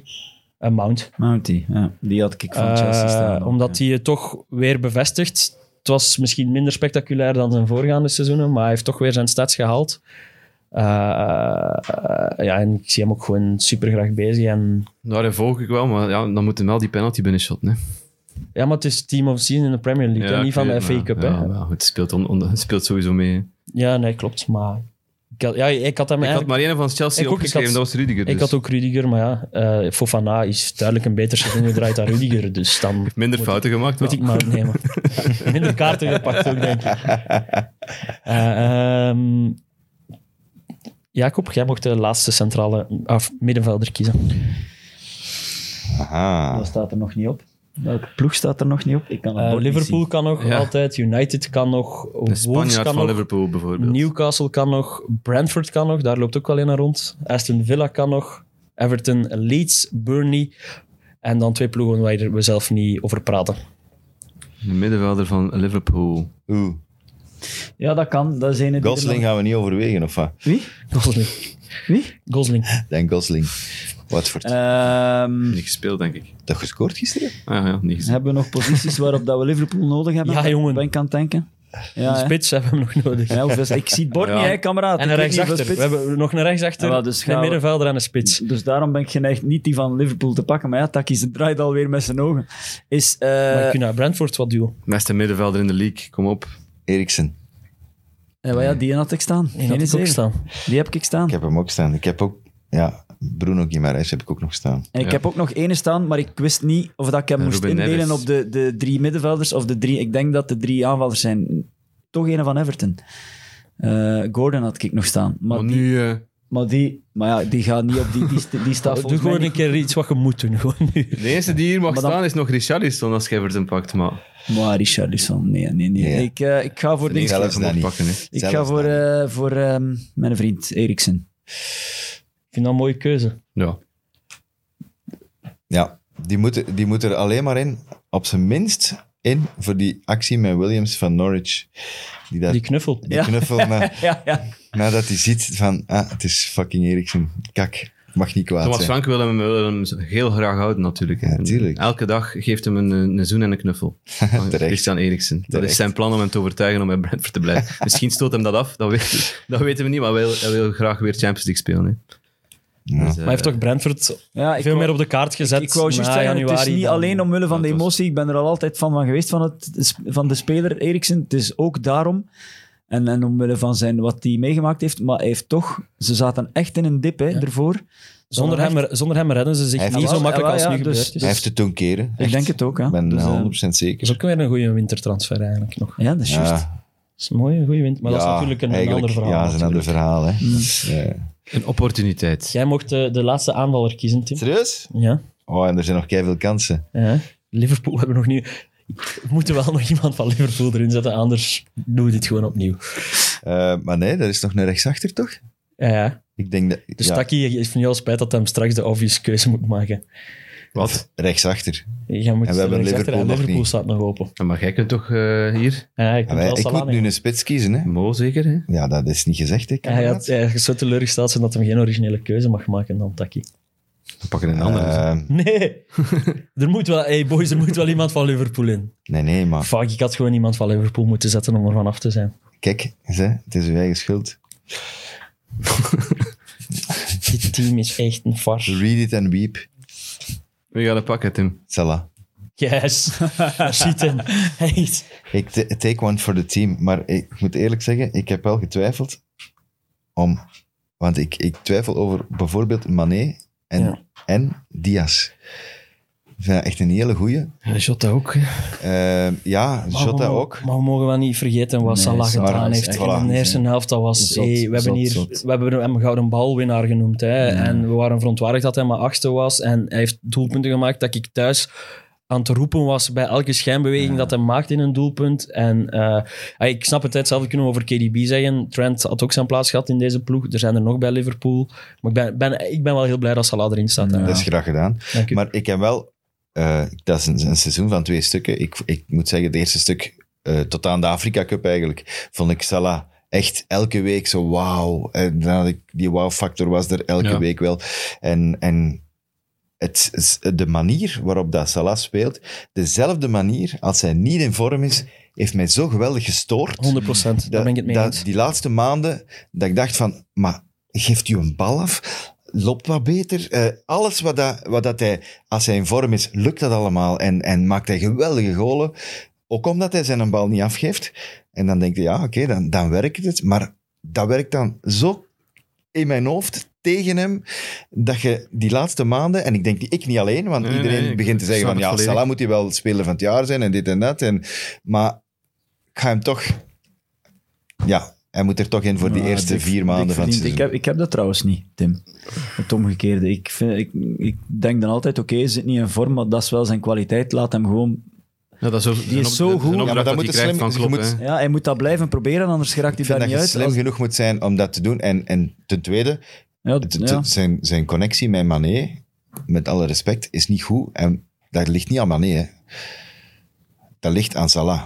En Mount. Mountie, ja. Die had ik van Chelsea Eh, staan. ook, omdat hij het toch weer bevestigt. Het was misschien minder spectaculair dan zijn voorgaande seizoenen, maar hij heeft toch weer zijn stats gehaald. Eh, eh, ja, en ik zie hem ook gewoon super graag bezig. En, Nou, dat volg ik wel, maar ja, dan moet hem wel die penalty binnenshotten. Hè. ja, maar het is team of the season in de Premier League, hè, ik niet van weet het, de FA maar- Cup. Ja, hè. maar goed, het speelt, on, on- het speelt sowieso mee. hè. ja, nee, klopt. Maar ik had, ja, ik had hem Ik had eigenlijk... maar één van Chelsea Ik ook, ik opgeschreven, had- dat was Rudiger. Dus. Ik had ook Rudiger, maar ja, eh, Fofana is duidelijk een beter seizoen gedraaid dan Rudiger, dus dan Minder fouten gemaakt. moet wel. ik maar nemen. Minder kaarten gepakt ook, denk ik. Eh, ehm, Jacob, jij mocht de laatste centrale of middenvelder kiezen. Eh, ja. Aha. Dat staat er nog niet op. Welke ploeg staat er nog niet op? Ik kan het Eh, bord niet Liverpool kan nog Ja. altijd, United kan nog, De Wolves Spanjaard kan van nog, Liverpool bijvoorbeeld. Newcastle kan nog, Brentford kan nog, daar loopt ook wel in rond. Aston Villa kan nog, Everton, Leeds, Burnley. En dan twee ploegen waar we zelf niet over praten. De middenvelder van Liverpool. Oeh. zien. Ja, dat kan. Dat is een die er Gosling gaan we niet overwegen, of wat? nog- Wie? Gosling. Wie? Gosling. Dan Gosling. Wat voor... Eh. Ehm, Niet gespeeld, denk ik. Dat gescoord gisteren? Ah ja, niet gezien. hebben we nog posities waarop dat we Liverpool nodig hebben? Ja, jongen. Ben ik aan het denken. De Ja, hè. spits hebben we nog nodig. Ja, hoeveel- ik zie het bord Ja. niet, hè, kameraad. En Ik een weet niet rechtsachter. hoeveel We spits- hebben nog een rechtsachter, Ah, wel, dus gaan een we- middenvelder en een spits. Dus daarom ben ik geneigd niet die van Liverpool te pakken. Maar ja, Takis draait alweer met zijn ogen. Is, eh, maar je kunt naar Brentford wat duwen. Beste middenvelder in de league, kom op. Eriksen. eh, wel ja, die had ik staan. Die had ik ook idee. staan. Die heb ik staan. Ik heb hem ook staan. Ik heb ook... Ja, Bruno Guimaraes heb ik ook nog staan. En ik Ja. heb ook nog ene staan, maar ik wist niet of dat ik hem En moest Ruben indelen Neves. op de, de drie middenvelders of de drie... Ik denk dat de drie aanvallers zijn. Toch ene van Everton. Eh, Gordon had ik nog staan. Maar, Maar die, nu... eh, maar, die, maar ja, die gaat niet op die... Die, die staat Doe volgens mij gewoon niet een keer iets wat je moet doen. Gewoon nu. de eerste die hier mag Maar dan- staan is nog Richarlison als Everton pakt, maar... Maar Richarlison, nee, nee, nee. Ja. Ik, eh, ik ga voor, Nee, die, zelfs dat dat niet. pakken, hè. ik zelfs ga voor, dat eh, voor ehm, mijn vriend Eriksen. Ik vind dat een mooie keuze. Ja. Ja, die moet, die moet er alleen maar in, op zijn minst in, voor die actie met Williams van Norwich. Die, dat, Die die, knuffel. Ja. knuffel, na, Ja, ja. nadat hij ziet van, ah, het is fucking Eriksen. Kak, ik mag niet kwaad Thomas zijn. Frank wil hem, wil hem heel graag houden, natuurlijk. Ja, tuurlijk. Elke dag geeft hem een, een zoen en een knuffel. Van Terecht. Christian Eriksen. Dat Terecht. is zijn plan om hem te overtuigen om bij Brentford te blijven. Misschien stoot hem dat af, dat, weet, dat weten we niet. Maar hij wil, hij wil graag weer Champions League spelen. Hè. Ja. Dus, eh, Maar hij heeft toch Brentford ja ik veel wou- meer op de kaart gezet. Ik wou juist na zeggen, het is januari niet dan- alleen omwille van Ja, de het was- emotie. Ik ben er al altijd van, van geweest van, het, van de speler Eriksen. Het is ook daarom. En, en omwille van zijn, wat hij meegemaakt heeft. Maar hij heeft toch... Ze zaten echt in een dip, hè, ervoor. Zonder hem, re- zonder hem redden ze zich Hij heeft niet wel- zo makkelijk ja, als ja, nu dus- gebeurd is. Hij heeft het doen keren. Echt. Ik denk het ook, hè. Ik ben Dus, eh, 100% zeker. Dat is ook weer een goede wintertransfer eigenlijk nog. Ja, dat is juist. Ja, Dat is een mooie, goede winter. Maar dat is ja, natuurlijk een, eigenlijk- ander verhaal. Ja, dat is een ander natuurlijk. verhaal. Hè. Mm. Dat is, eh, Een opportuniteit. Jij mocht eh, de, de laatste aanvaller kiezen, Tim. Serieus? Ja. Oh, en er zijn nog veel kansen. ja. Liverpool hebben nog niet... We moeten wel nog iemand van Liverpool erin zetten, anders doen we dit gewoon opnieuw. Eh, maar nee, dat is nog een rechtsachter, toch? Ja, Ja. Ik denk dat... Dus ja, Taki heeft nu al spijt dat hij hem straks de obvious keuze moet maken. Wat? Rechtsachter. Jij moet En we hebben rechtsachter- Liverpool en nog Liverpool niet. staat nog open. Maar jij kunt toch eh, hier? Ja, Ja, ik moet wel wij- ik Salah moet nu een spits kiezen, hè. Mo zeker, hè? Ja, dat is niet gezegd, hè, Hij kameraad. had hij had zo teleurgesteld zijn dat hij geen originele keuze mag maken dan Taki. Dan pakken we een andere. Eh, Nee. er moet wel, hey boys, er moet wel iemand van Liverpool in. nee, nee, maar Fuck, ik had gewoon iemand van Liverpool moeten zetten om er vanaf te zijn. kijk, hè, het is uw eigen schuld. Dit team is echt een farce. Read it and weep. We gaan het pakken, Tim. Salah. Yes. Daar zit hem. Echt. Ik t- take one for the team. Maar ik moet eerlijk zeggen, ik heb wel getwijfeld om... Want ik, ik twijfel over bijvoorbeeld Mané en, Ja. en Diaz. Ik vind dat echt een hele goeie. En Jota ook. hè. Eh, ja, Maar we Jota mo- ook. Maar we mogen wel niet vergeten wat Nee, Salah Salah gedaan is heeft. echt In waanzin. de eerste helft, dat was... Zot, hey, we, hebben zot, hier, zot. we hebben hem gouden balwinnaar genoemd. Hè, En we waren verontwaardigd dat hij maar achtste was. En hij heeft doelpunten gemaakt dat ik thuis aan het roepen was bij elke schijnbeweging dat hij maakt in een doelpunt. En eh, ah, ik snap het, hè, hetzelfde kunnen we over KDB zeggen. Trent had ook zijn plaats gehad in deze ploeg. Er zijn er nog bij Liverpool. Maar ik ben, ben, ik ben wel heel blij dat Salah erin staat. hè. Dat is graag gedaan. Dank u. Maar ik heb wel... eh, dat is een, een seizoen van twee stukken. Ik, ik moet zeggen, het eerste stuk, eh, tot aan de Afrika Cup eigenlijk, vond ik Salah echt elke week zo wauw. En dan had ik- die wow-factor was er elke Ja. week wel. En, en het, is- de manier waarop dat Salah speelt, dezelfde manier, als hij niet in vorm is, heeft mij zo geweldig gestoord. 100 procent, daar ben ik het mee dat- eens. Die laatste maanden, dat ik dacht van, maar geeft u een bal af? Loopt wat beter? Eh, alles wat, dat, wat dat hij, als hij in vorm is, lukt dat allemaal. En, en maakt hij geweldige golen. Ook omdat hij zijn bal niet afgeeft. En dan denk je, ja, oké, dan, dan werkt het. Maar dat werkt dan zo in mijn hoofd tegen hem, dat je die laatste maanden, en ik denk die ik niet alleen, want Nee, nee, iedereen nee, ik begint te zeggen snap van, ja, het volledig. Salah moet hij wel speler van het jaar zijn, en dit en dat. En, maar ik ga hem toch... Ja, hij moet er toch in voor die Ja, eerste dik- vier dik maanden van het verdiend. ik seizoen. heb, ik heb dat trouwens niet, Tim. Het omgekeerde. Ik, vind, ik, ik denk dan altijd, oké, hij zit niet in vorm, maar dat is wel zijn kwaliteit. Laat hem gewoon... Ja, dat is, ook- Die is een zo een goed. Ja, maar opdracht dat dat moet hij het krijgt slim- van je Klopp, moet- hè. Ja, hij moet dat blijven proberen, anders geraakt hij Ik vind dat daar niet je uit. slim Als- genoeg moet zijn om dat te doen. En, en ten tweede, ja, het- ja. het- zijn, zijn connectie met Mané, met alle respect, is niet goed. En dat ligt niet aan Mané, hè. Dat ligt aan Salah.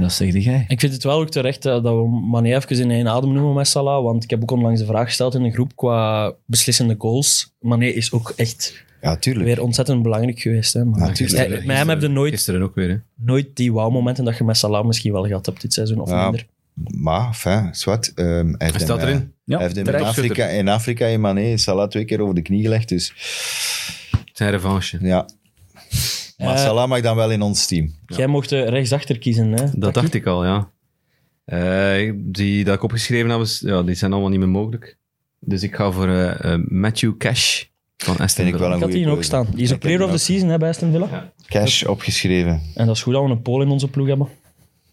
Dat zeg jij. Ik vind het wel ook terecht eh, dat we Mané even in één adem noemen met Salah. Want ik heb ook onlangs de vraag gesteld in de groep qua beslissende goals. Mané is ook echt Ja, tuurlijk. weer ontzettend belangrijk geweest. Hè, maar Ja, tuurlijk. Eh, Met hem heb je nooit, Gisteren ook weer, hè. nooit die wauw-momenten dat je met Salah misschien wel gehad hebt dit seizoen of Ja, minder. Maar, fijn, zwart. ehm, hij heeft Hij staat hem, eh, erin. Ja, hij heeft hem in terecht. Afrika, in Afrika in Mané Salah twee keer over de knie gelegd. Dus Zijn revanche. ja. Maar Eh, Salah mag dan wel in ons team. Jij mocht eh, rechtsachter kiezen. Hè? Dat dacht ik al, ja. Eh, die dat ik opgeschreven heb, is- ja, die zijn allemaal niet meer mogelijk. Dus ik ga voor eh, eh, Matthew Cash van Aston Vind ik wel eh, Villa. een Ik had goede die ook keuze. staan. Die is ook Ik heb player of die the season hè, bij Aston Villa. ook. Cash opgeschreven. En dat is goed dat we een Pool in onze ploeg hebben.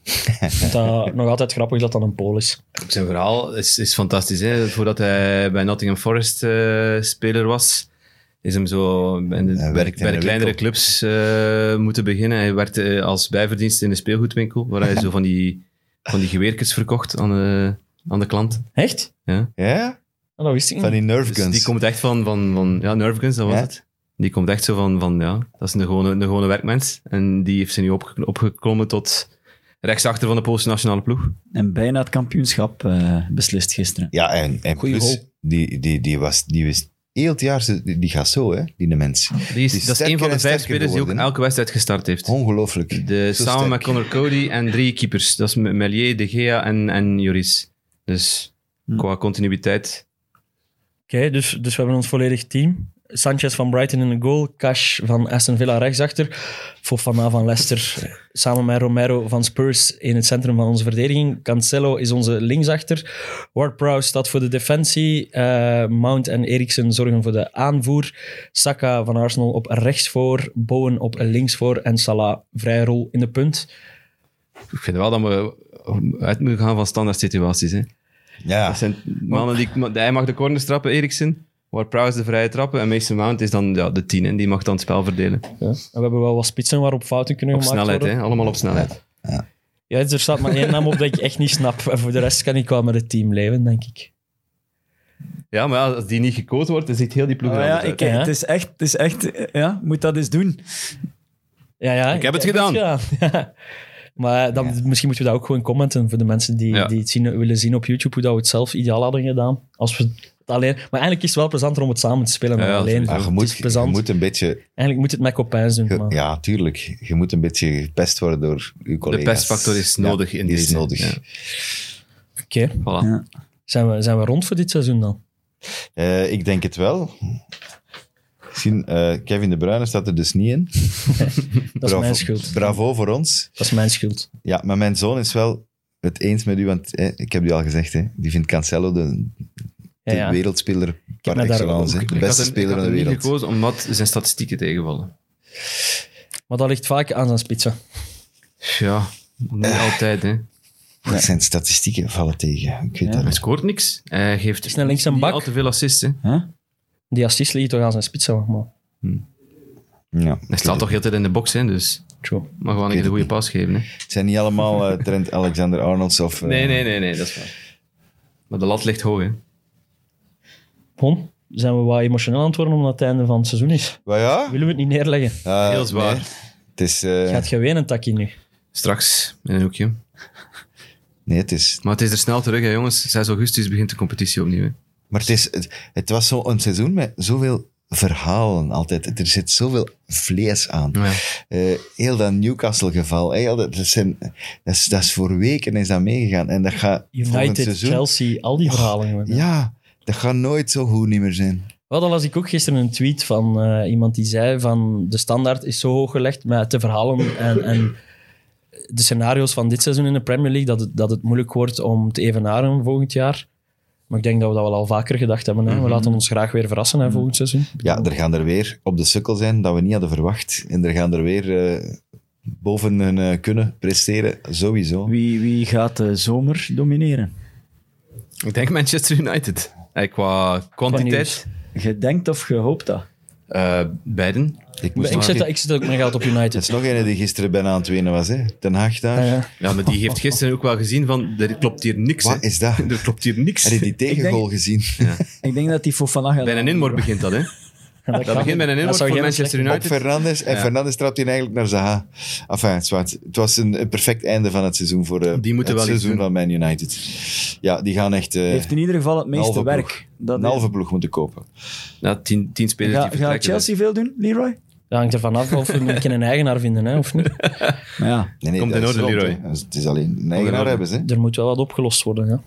Ik vind dat nog altijd grappig dat dat een Pool is. Zijn verhaal is, is fantastisch. Hè? Voordat hij bij Nottingham Forest eh, speler was, is hem zo in de- Hij bij, werkte in bij de een kleinere winkel. clubs eh, moeten beginnen. Hij werkte eh, als bijverdienst in de speelgoedwinkel, waar hij zo van die, van die geweerkens verkocht aan de, aan de klant. Echt? Ja? Ah, dat wist ik niet. Van die Nerf Dus Guns. die komt echt van, van, van ja, Nerve Guns, dat was Ja. het. Die komt echt zo van, van ja, dat is een gewone, een gewone werkmens. En die heeft ze nu opge- opgeklommen tot rechtsachter van de Poolse nationale ploeg. En bijna het kampioenschap eh, beslist gisteren. Ja, en, en Goeie plus, goal. die, die, die, was, die wist heel het jaar, ze- die, die gaat zo, hè, die mens. Die is, Die is dat is sterker een van de en vijf sterker spelers die ook geworden, hè? elke wedstrijd gestart heeft. Ongelooflijk. De, Zo samen sterk. met Connor Cody en drie keepers. Dat is M- Melier, De Gea en, en Joris. Dus Hm. qua continuïteit. Oké, dus, dus we hebben ons volledig team. Sanchez van Brighton in de goal. Cash van Aston Villa rechtsachter. Fofana van Leicester. Samen met Romero van Spurs in het centrum van onze verdediging. Cancelo is onze linksachter. Ward-Prowse staat voor de defensie. Eh, Mount en Eriksen zorgen voor de aanvoer. Saka van Arsenal op rechts voor. Bowen op links voor. En Salah vrij rol in de punt. Ik vind wel dat we uit moeten gaan van standaard situaties. Hè. Ja, Dat zijn mannen die... Hij mag de corners trappen, Eriksen. Waar Prowse de vrije trappen. En Mason Mount is dan ja, de tien. En die mag dan het spel verdelen. En we hebben wel wat spitsen waarop fouten kunnen Op gemaakt snelheid, worden. hè. Allemaal op snelheid. Ja, dus er staat maar één naam op dat ik echt niet snap. En voor de rest kan ik wel met het team leven, denk ik. Ja, maar ja, als die niet gecoord wordt, dan ziet heel die ploeg Oh er ja, anders uit. ik, het is echt, het is echt eh, ja, moet dat eens doen. Ja, ja, ik heb het gedaan. gedaan. maar dan, misschien moeten we dat ook gewoon commenten voor de mensen die, Ja. die het zien, willen zien op YouTube, hoe dat we het zelf ideaal hadden gedaan. Als we het alleen, maar eigenlijk is het wel plezanter om het samen te spelen dan Ja, ja, alleen. sowieso. maar je Het moet, is je plezant. moet een beetje... Eigenlijk moet het met Copains doen. ge- maar- ja, tuurlijk. Je moet een beetje gepest worden door je collega's. pestfactor is Ja, nodig in die is deze, nodig. ja. Oké, Voilà. Ja. zijn, we, zijn we rond voor dit seizoen dan? Eh, ik denk het wel. Misschien, eh, Kevin De Bruyne staat er dus niet in. Dat is mijn schuld. Bravo voor ons. Dat is mijn schuld. Ja, maar mijn zoon is wel het eens met u, want eh, ik heb u al gezegd, hè, die vindt Cancelo de, de Ja, ja. wereldspeler par me daar excellence. ook- hè. Ik De had beste hem- ik speler van had de hem niet wereld. gekozen omdat zijn statistieken tegenvallen. Maar dat ligt vaak aan zijn spitsen. Ja, niet Eh. altijd, hè. Pff, Zijn statistieken vallen tegen. Ik weet dat Hij niet. scoort niks. Hij geeft Is naar links een niet bak. al te veel assists, hè. Die assist liggen toch aan zijn spitsen, maar... Ja, Hij ik weet staat toch heel tijd in de box, hè, dus... True. Mag gewoon een keer de goede pas geven, hè. Het zijn niet allemaal eh, Trent Alexander-Arnolds of... eh, Nee, nee, nee, nee, dat is waar. Maar de lat ligt hoog, hè. Bon, zijn we wat emotioneel aan het worden omdat het einde van het seizoen is. Maar ja, Willen we het niet neerleggen? eh, Heel zwaar. nee. Het is... eh, Gaat je wenen, Taki, nu? Straks in een hoekje. nee, het is... Maar het is er snel terug, hè, jongens. 6 augustus begint de competitie opnieuw. Hè. Maar het, is, het, het was zo'n seizoen met zoveel verhalen altijd. Er zit zoveel vlees aan. Ja. Eh, heel dat Newcastle-geval. hè, heel dat, dat, zijn, dat, is, dat is voor weken is dat meegegaan. En dat gaat volgend United, seizoen... Chelsea, al die verhalen. gewoon, hè. Ja, dat gaat nooit zo goed niet meer zijn. Wel, dan las ik ook gisteren een tweet van eh, iemand die zei van de standaard is zo hoog gelegd met de verhalen en, en de scenario's van dit seizoen in de Premier League dat het, dat het moeilijk wordt om te evenaren volgend jaar. Maar ik denk dat we dat wel al vaker gedacht hebben. Hè? We Mhm. laten ons graag weer verrassen hè, volgend seizoen. Ja, er gaan er weer op de sukkel zijn dat we niet hadden verwacht. En er gaan er weer eh, boven hun eh, kunnen presteren, sowieso. Wie, wie gaat de zomer domineren? Ik denk Manchester United. Eh, qua kwantiteit, Je denkt of je hoopt dat? eh, beiden. Ik moest Ik nog... zet, dat- ik zet ook mijn geld op Dat United. is nog een die gisteren bijna aan het wenen was, hè? Ten Haag daar. Ja, ja. Ja, maar die heeft gisteren ook wel gezien van, er klopt hier niks. Wat hè. is dat? Er klopt hier niks. Heb je die tegengoal gezien? Ik denk dat die voor vandaag gaat. Bij een inmor begint dat, hè. Dat, kan begint niet. met een Dat inmor zou voor geen Manchester Op United. Fernandes. En Ja. Fernandes trapt hij eigenlijk naar Zaha. Enfin, zwart. Het was een, een perfect einde van het seizoen voor eh, Die moeten het wel iets seizoen doen. van Man United. Ja, die gaan echt eh, Heeft in ieder geval het een meeste halve werk. ploeg. Dat een is- halve ploeg moeten kopen. Ja, tien, tien spelers Ga- die gaat vertrekken. Chelsea veel doen, Leroy? Dat hangt ervan af of we een een eigenaar vinden, hè, of niet. Maar ja, Nee, nee, Komt dat in is orde, rond, Leroy. hè. Dus Het is alleen een eigenaar orde. hebben ze. hè. Er moet wel wat opgelost worden, ja.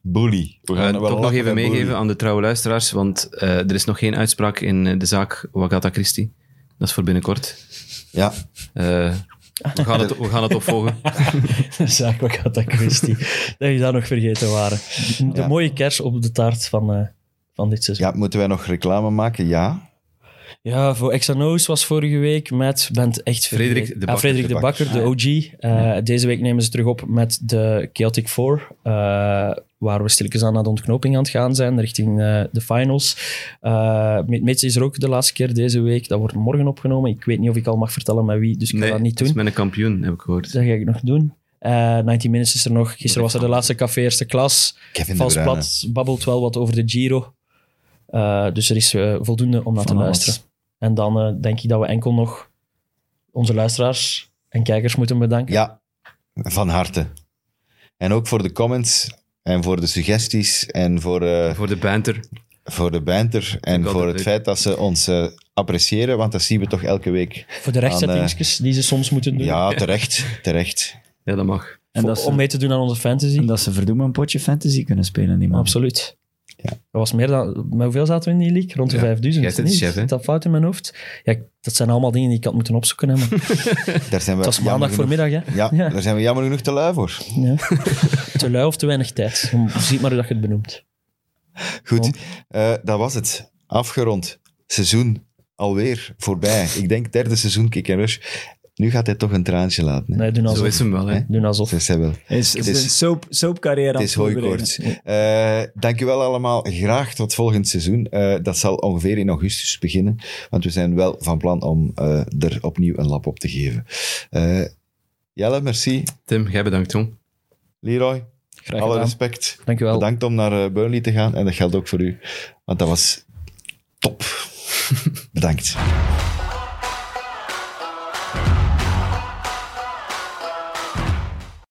Bully. We We gaan wel toch nog lachen even met Bully. meegeven aan de trouwe luisteraars, want eh, er is nog geen uitspraak in eh, de zaak Wagata Christie. Dat is voor binnenkort. Ja, Eh, we, gaan het, we gaan het opvolgen. Zaak Agatha Christie. dat je dat nog vergeten waren. De Ja. mooie kers op de taart van, eh, van dit seizoen. ja, moeten wij nog reclame maken? Ja. Ja, voor XNO's was vorige week met... Bent echt vergeten. Frederik de Ah, Bakker. Frederik de Bakker, de OG. Eh, Deze week nemen ze terug op met de Chaotic Four. eh, waar we stilletjes aan naar de ontknoping aan het gaan zijn, richting eh, de finals. Eh Mitch is er ook de laatste keer deze week. Dat wordt morgen opgenomen. Ik weet niet of ik al mag vertellen met wie, dus ik ga Nee, dat niet het is doen. met een kampioen, heb ik gehoord. Dat ga ik nog doen. Eh 19 Minutes is er nog. Gisteren was er de laatste café eerste klas. Kevin Vals de Bruyne. plat babbelt wel wat over de Giro. Eh, dus er is eh, voldoende om naar te Van alles. luisteren. En dan eh, denk ik dat we enkel nog onze luisteraars en kijkers moeten bedanken. Ja, van harte. En ook voor de comments en voor de suggesties en voor... eh, Voor de banter. voor de banter en altijd voor het leuk. feit dat ze ons eh, appreciëren, want dat zien we toch elke week. Voor de rechtzettingsjes die ze soms moeten doen. Ja, terecht, terecht. Ja, dat mag. en Voor- dat, eh, ze, om mee te doen aan onze fantasy. en dat ze verdoemen een potje fantasy kunnen spelen, die man. Absoluut. Dat was meer dan... Met hoeveel zaten we in die league? Rond de Ja, 5000. jij zit nee? chef, hè? Zit dat fout in mijn hoofd? Ja, ik- dat zijn allemaal dingen die ik had moeten opzoeken. Hè, maar het Daar zijn we was jammer maandag genoeg- voormiddag, hè. Ja, Ja. daar zijn we jammer genoeg te lui voor. Ja. te lui of te weinig tijd. Zie maar hoe dat je het benoemt. Goed, Kom. eh, dat was het. Afgerond. Seizoen alweer voorbij. Ik denk derde seizoen Kick and Rush. Nu gaat hij toch een traantje laten. Hè? Nee, doen Zo alsof. is hem wel, hè. Hè? Doen alsof. Dat is hij wel. is, Het is, is- een soap, soapcarrière aan Het is voorbereiden. hooikoorts. Eh dankjewel allemaal. Graag tot volgend seizoen. Eh, dat zal ongeveer in augustus beginnen. Want we zijn wel van plan om eh, er opnieuw een lap op te geven. Eh, Jelle, merci. Tim, jij bedankt, jong. Leroy, Graag alle gedaan. respect. Dankjewel. Bedankt om naar eh, Burnley te gaan. En dat geldt ook voor u. Want dat was top. Bedankt.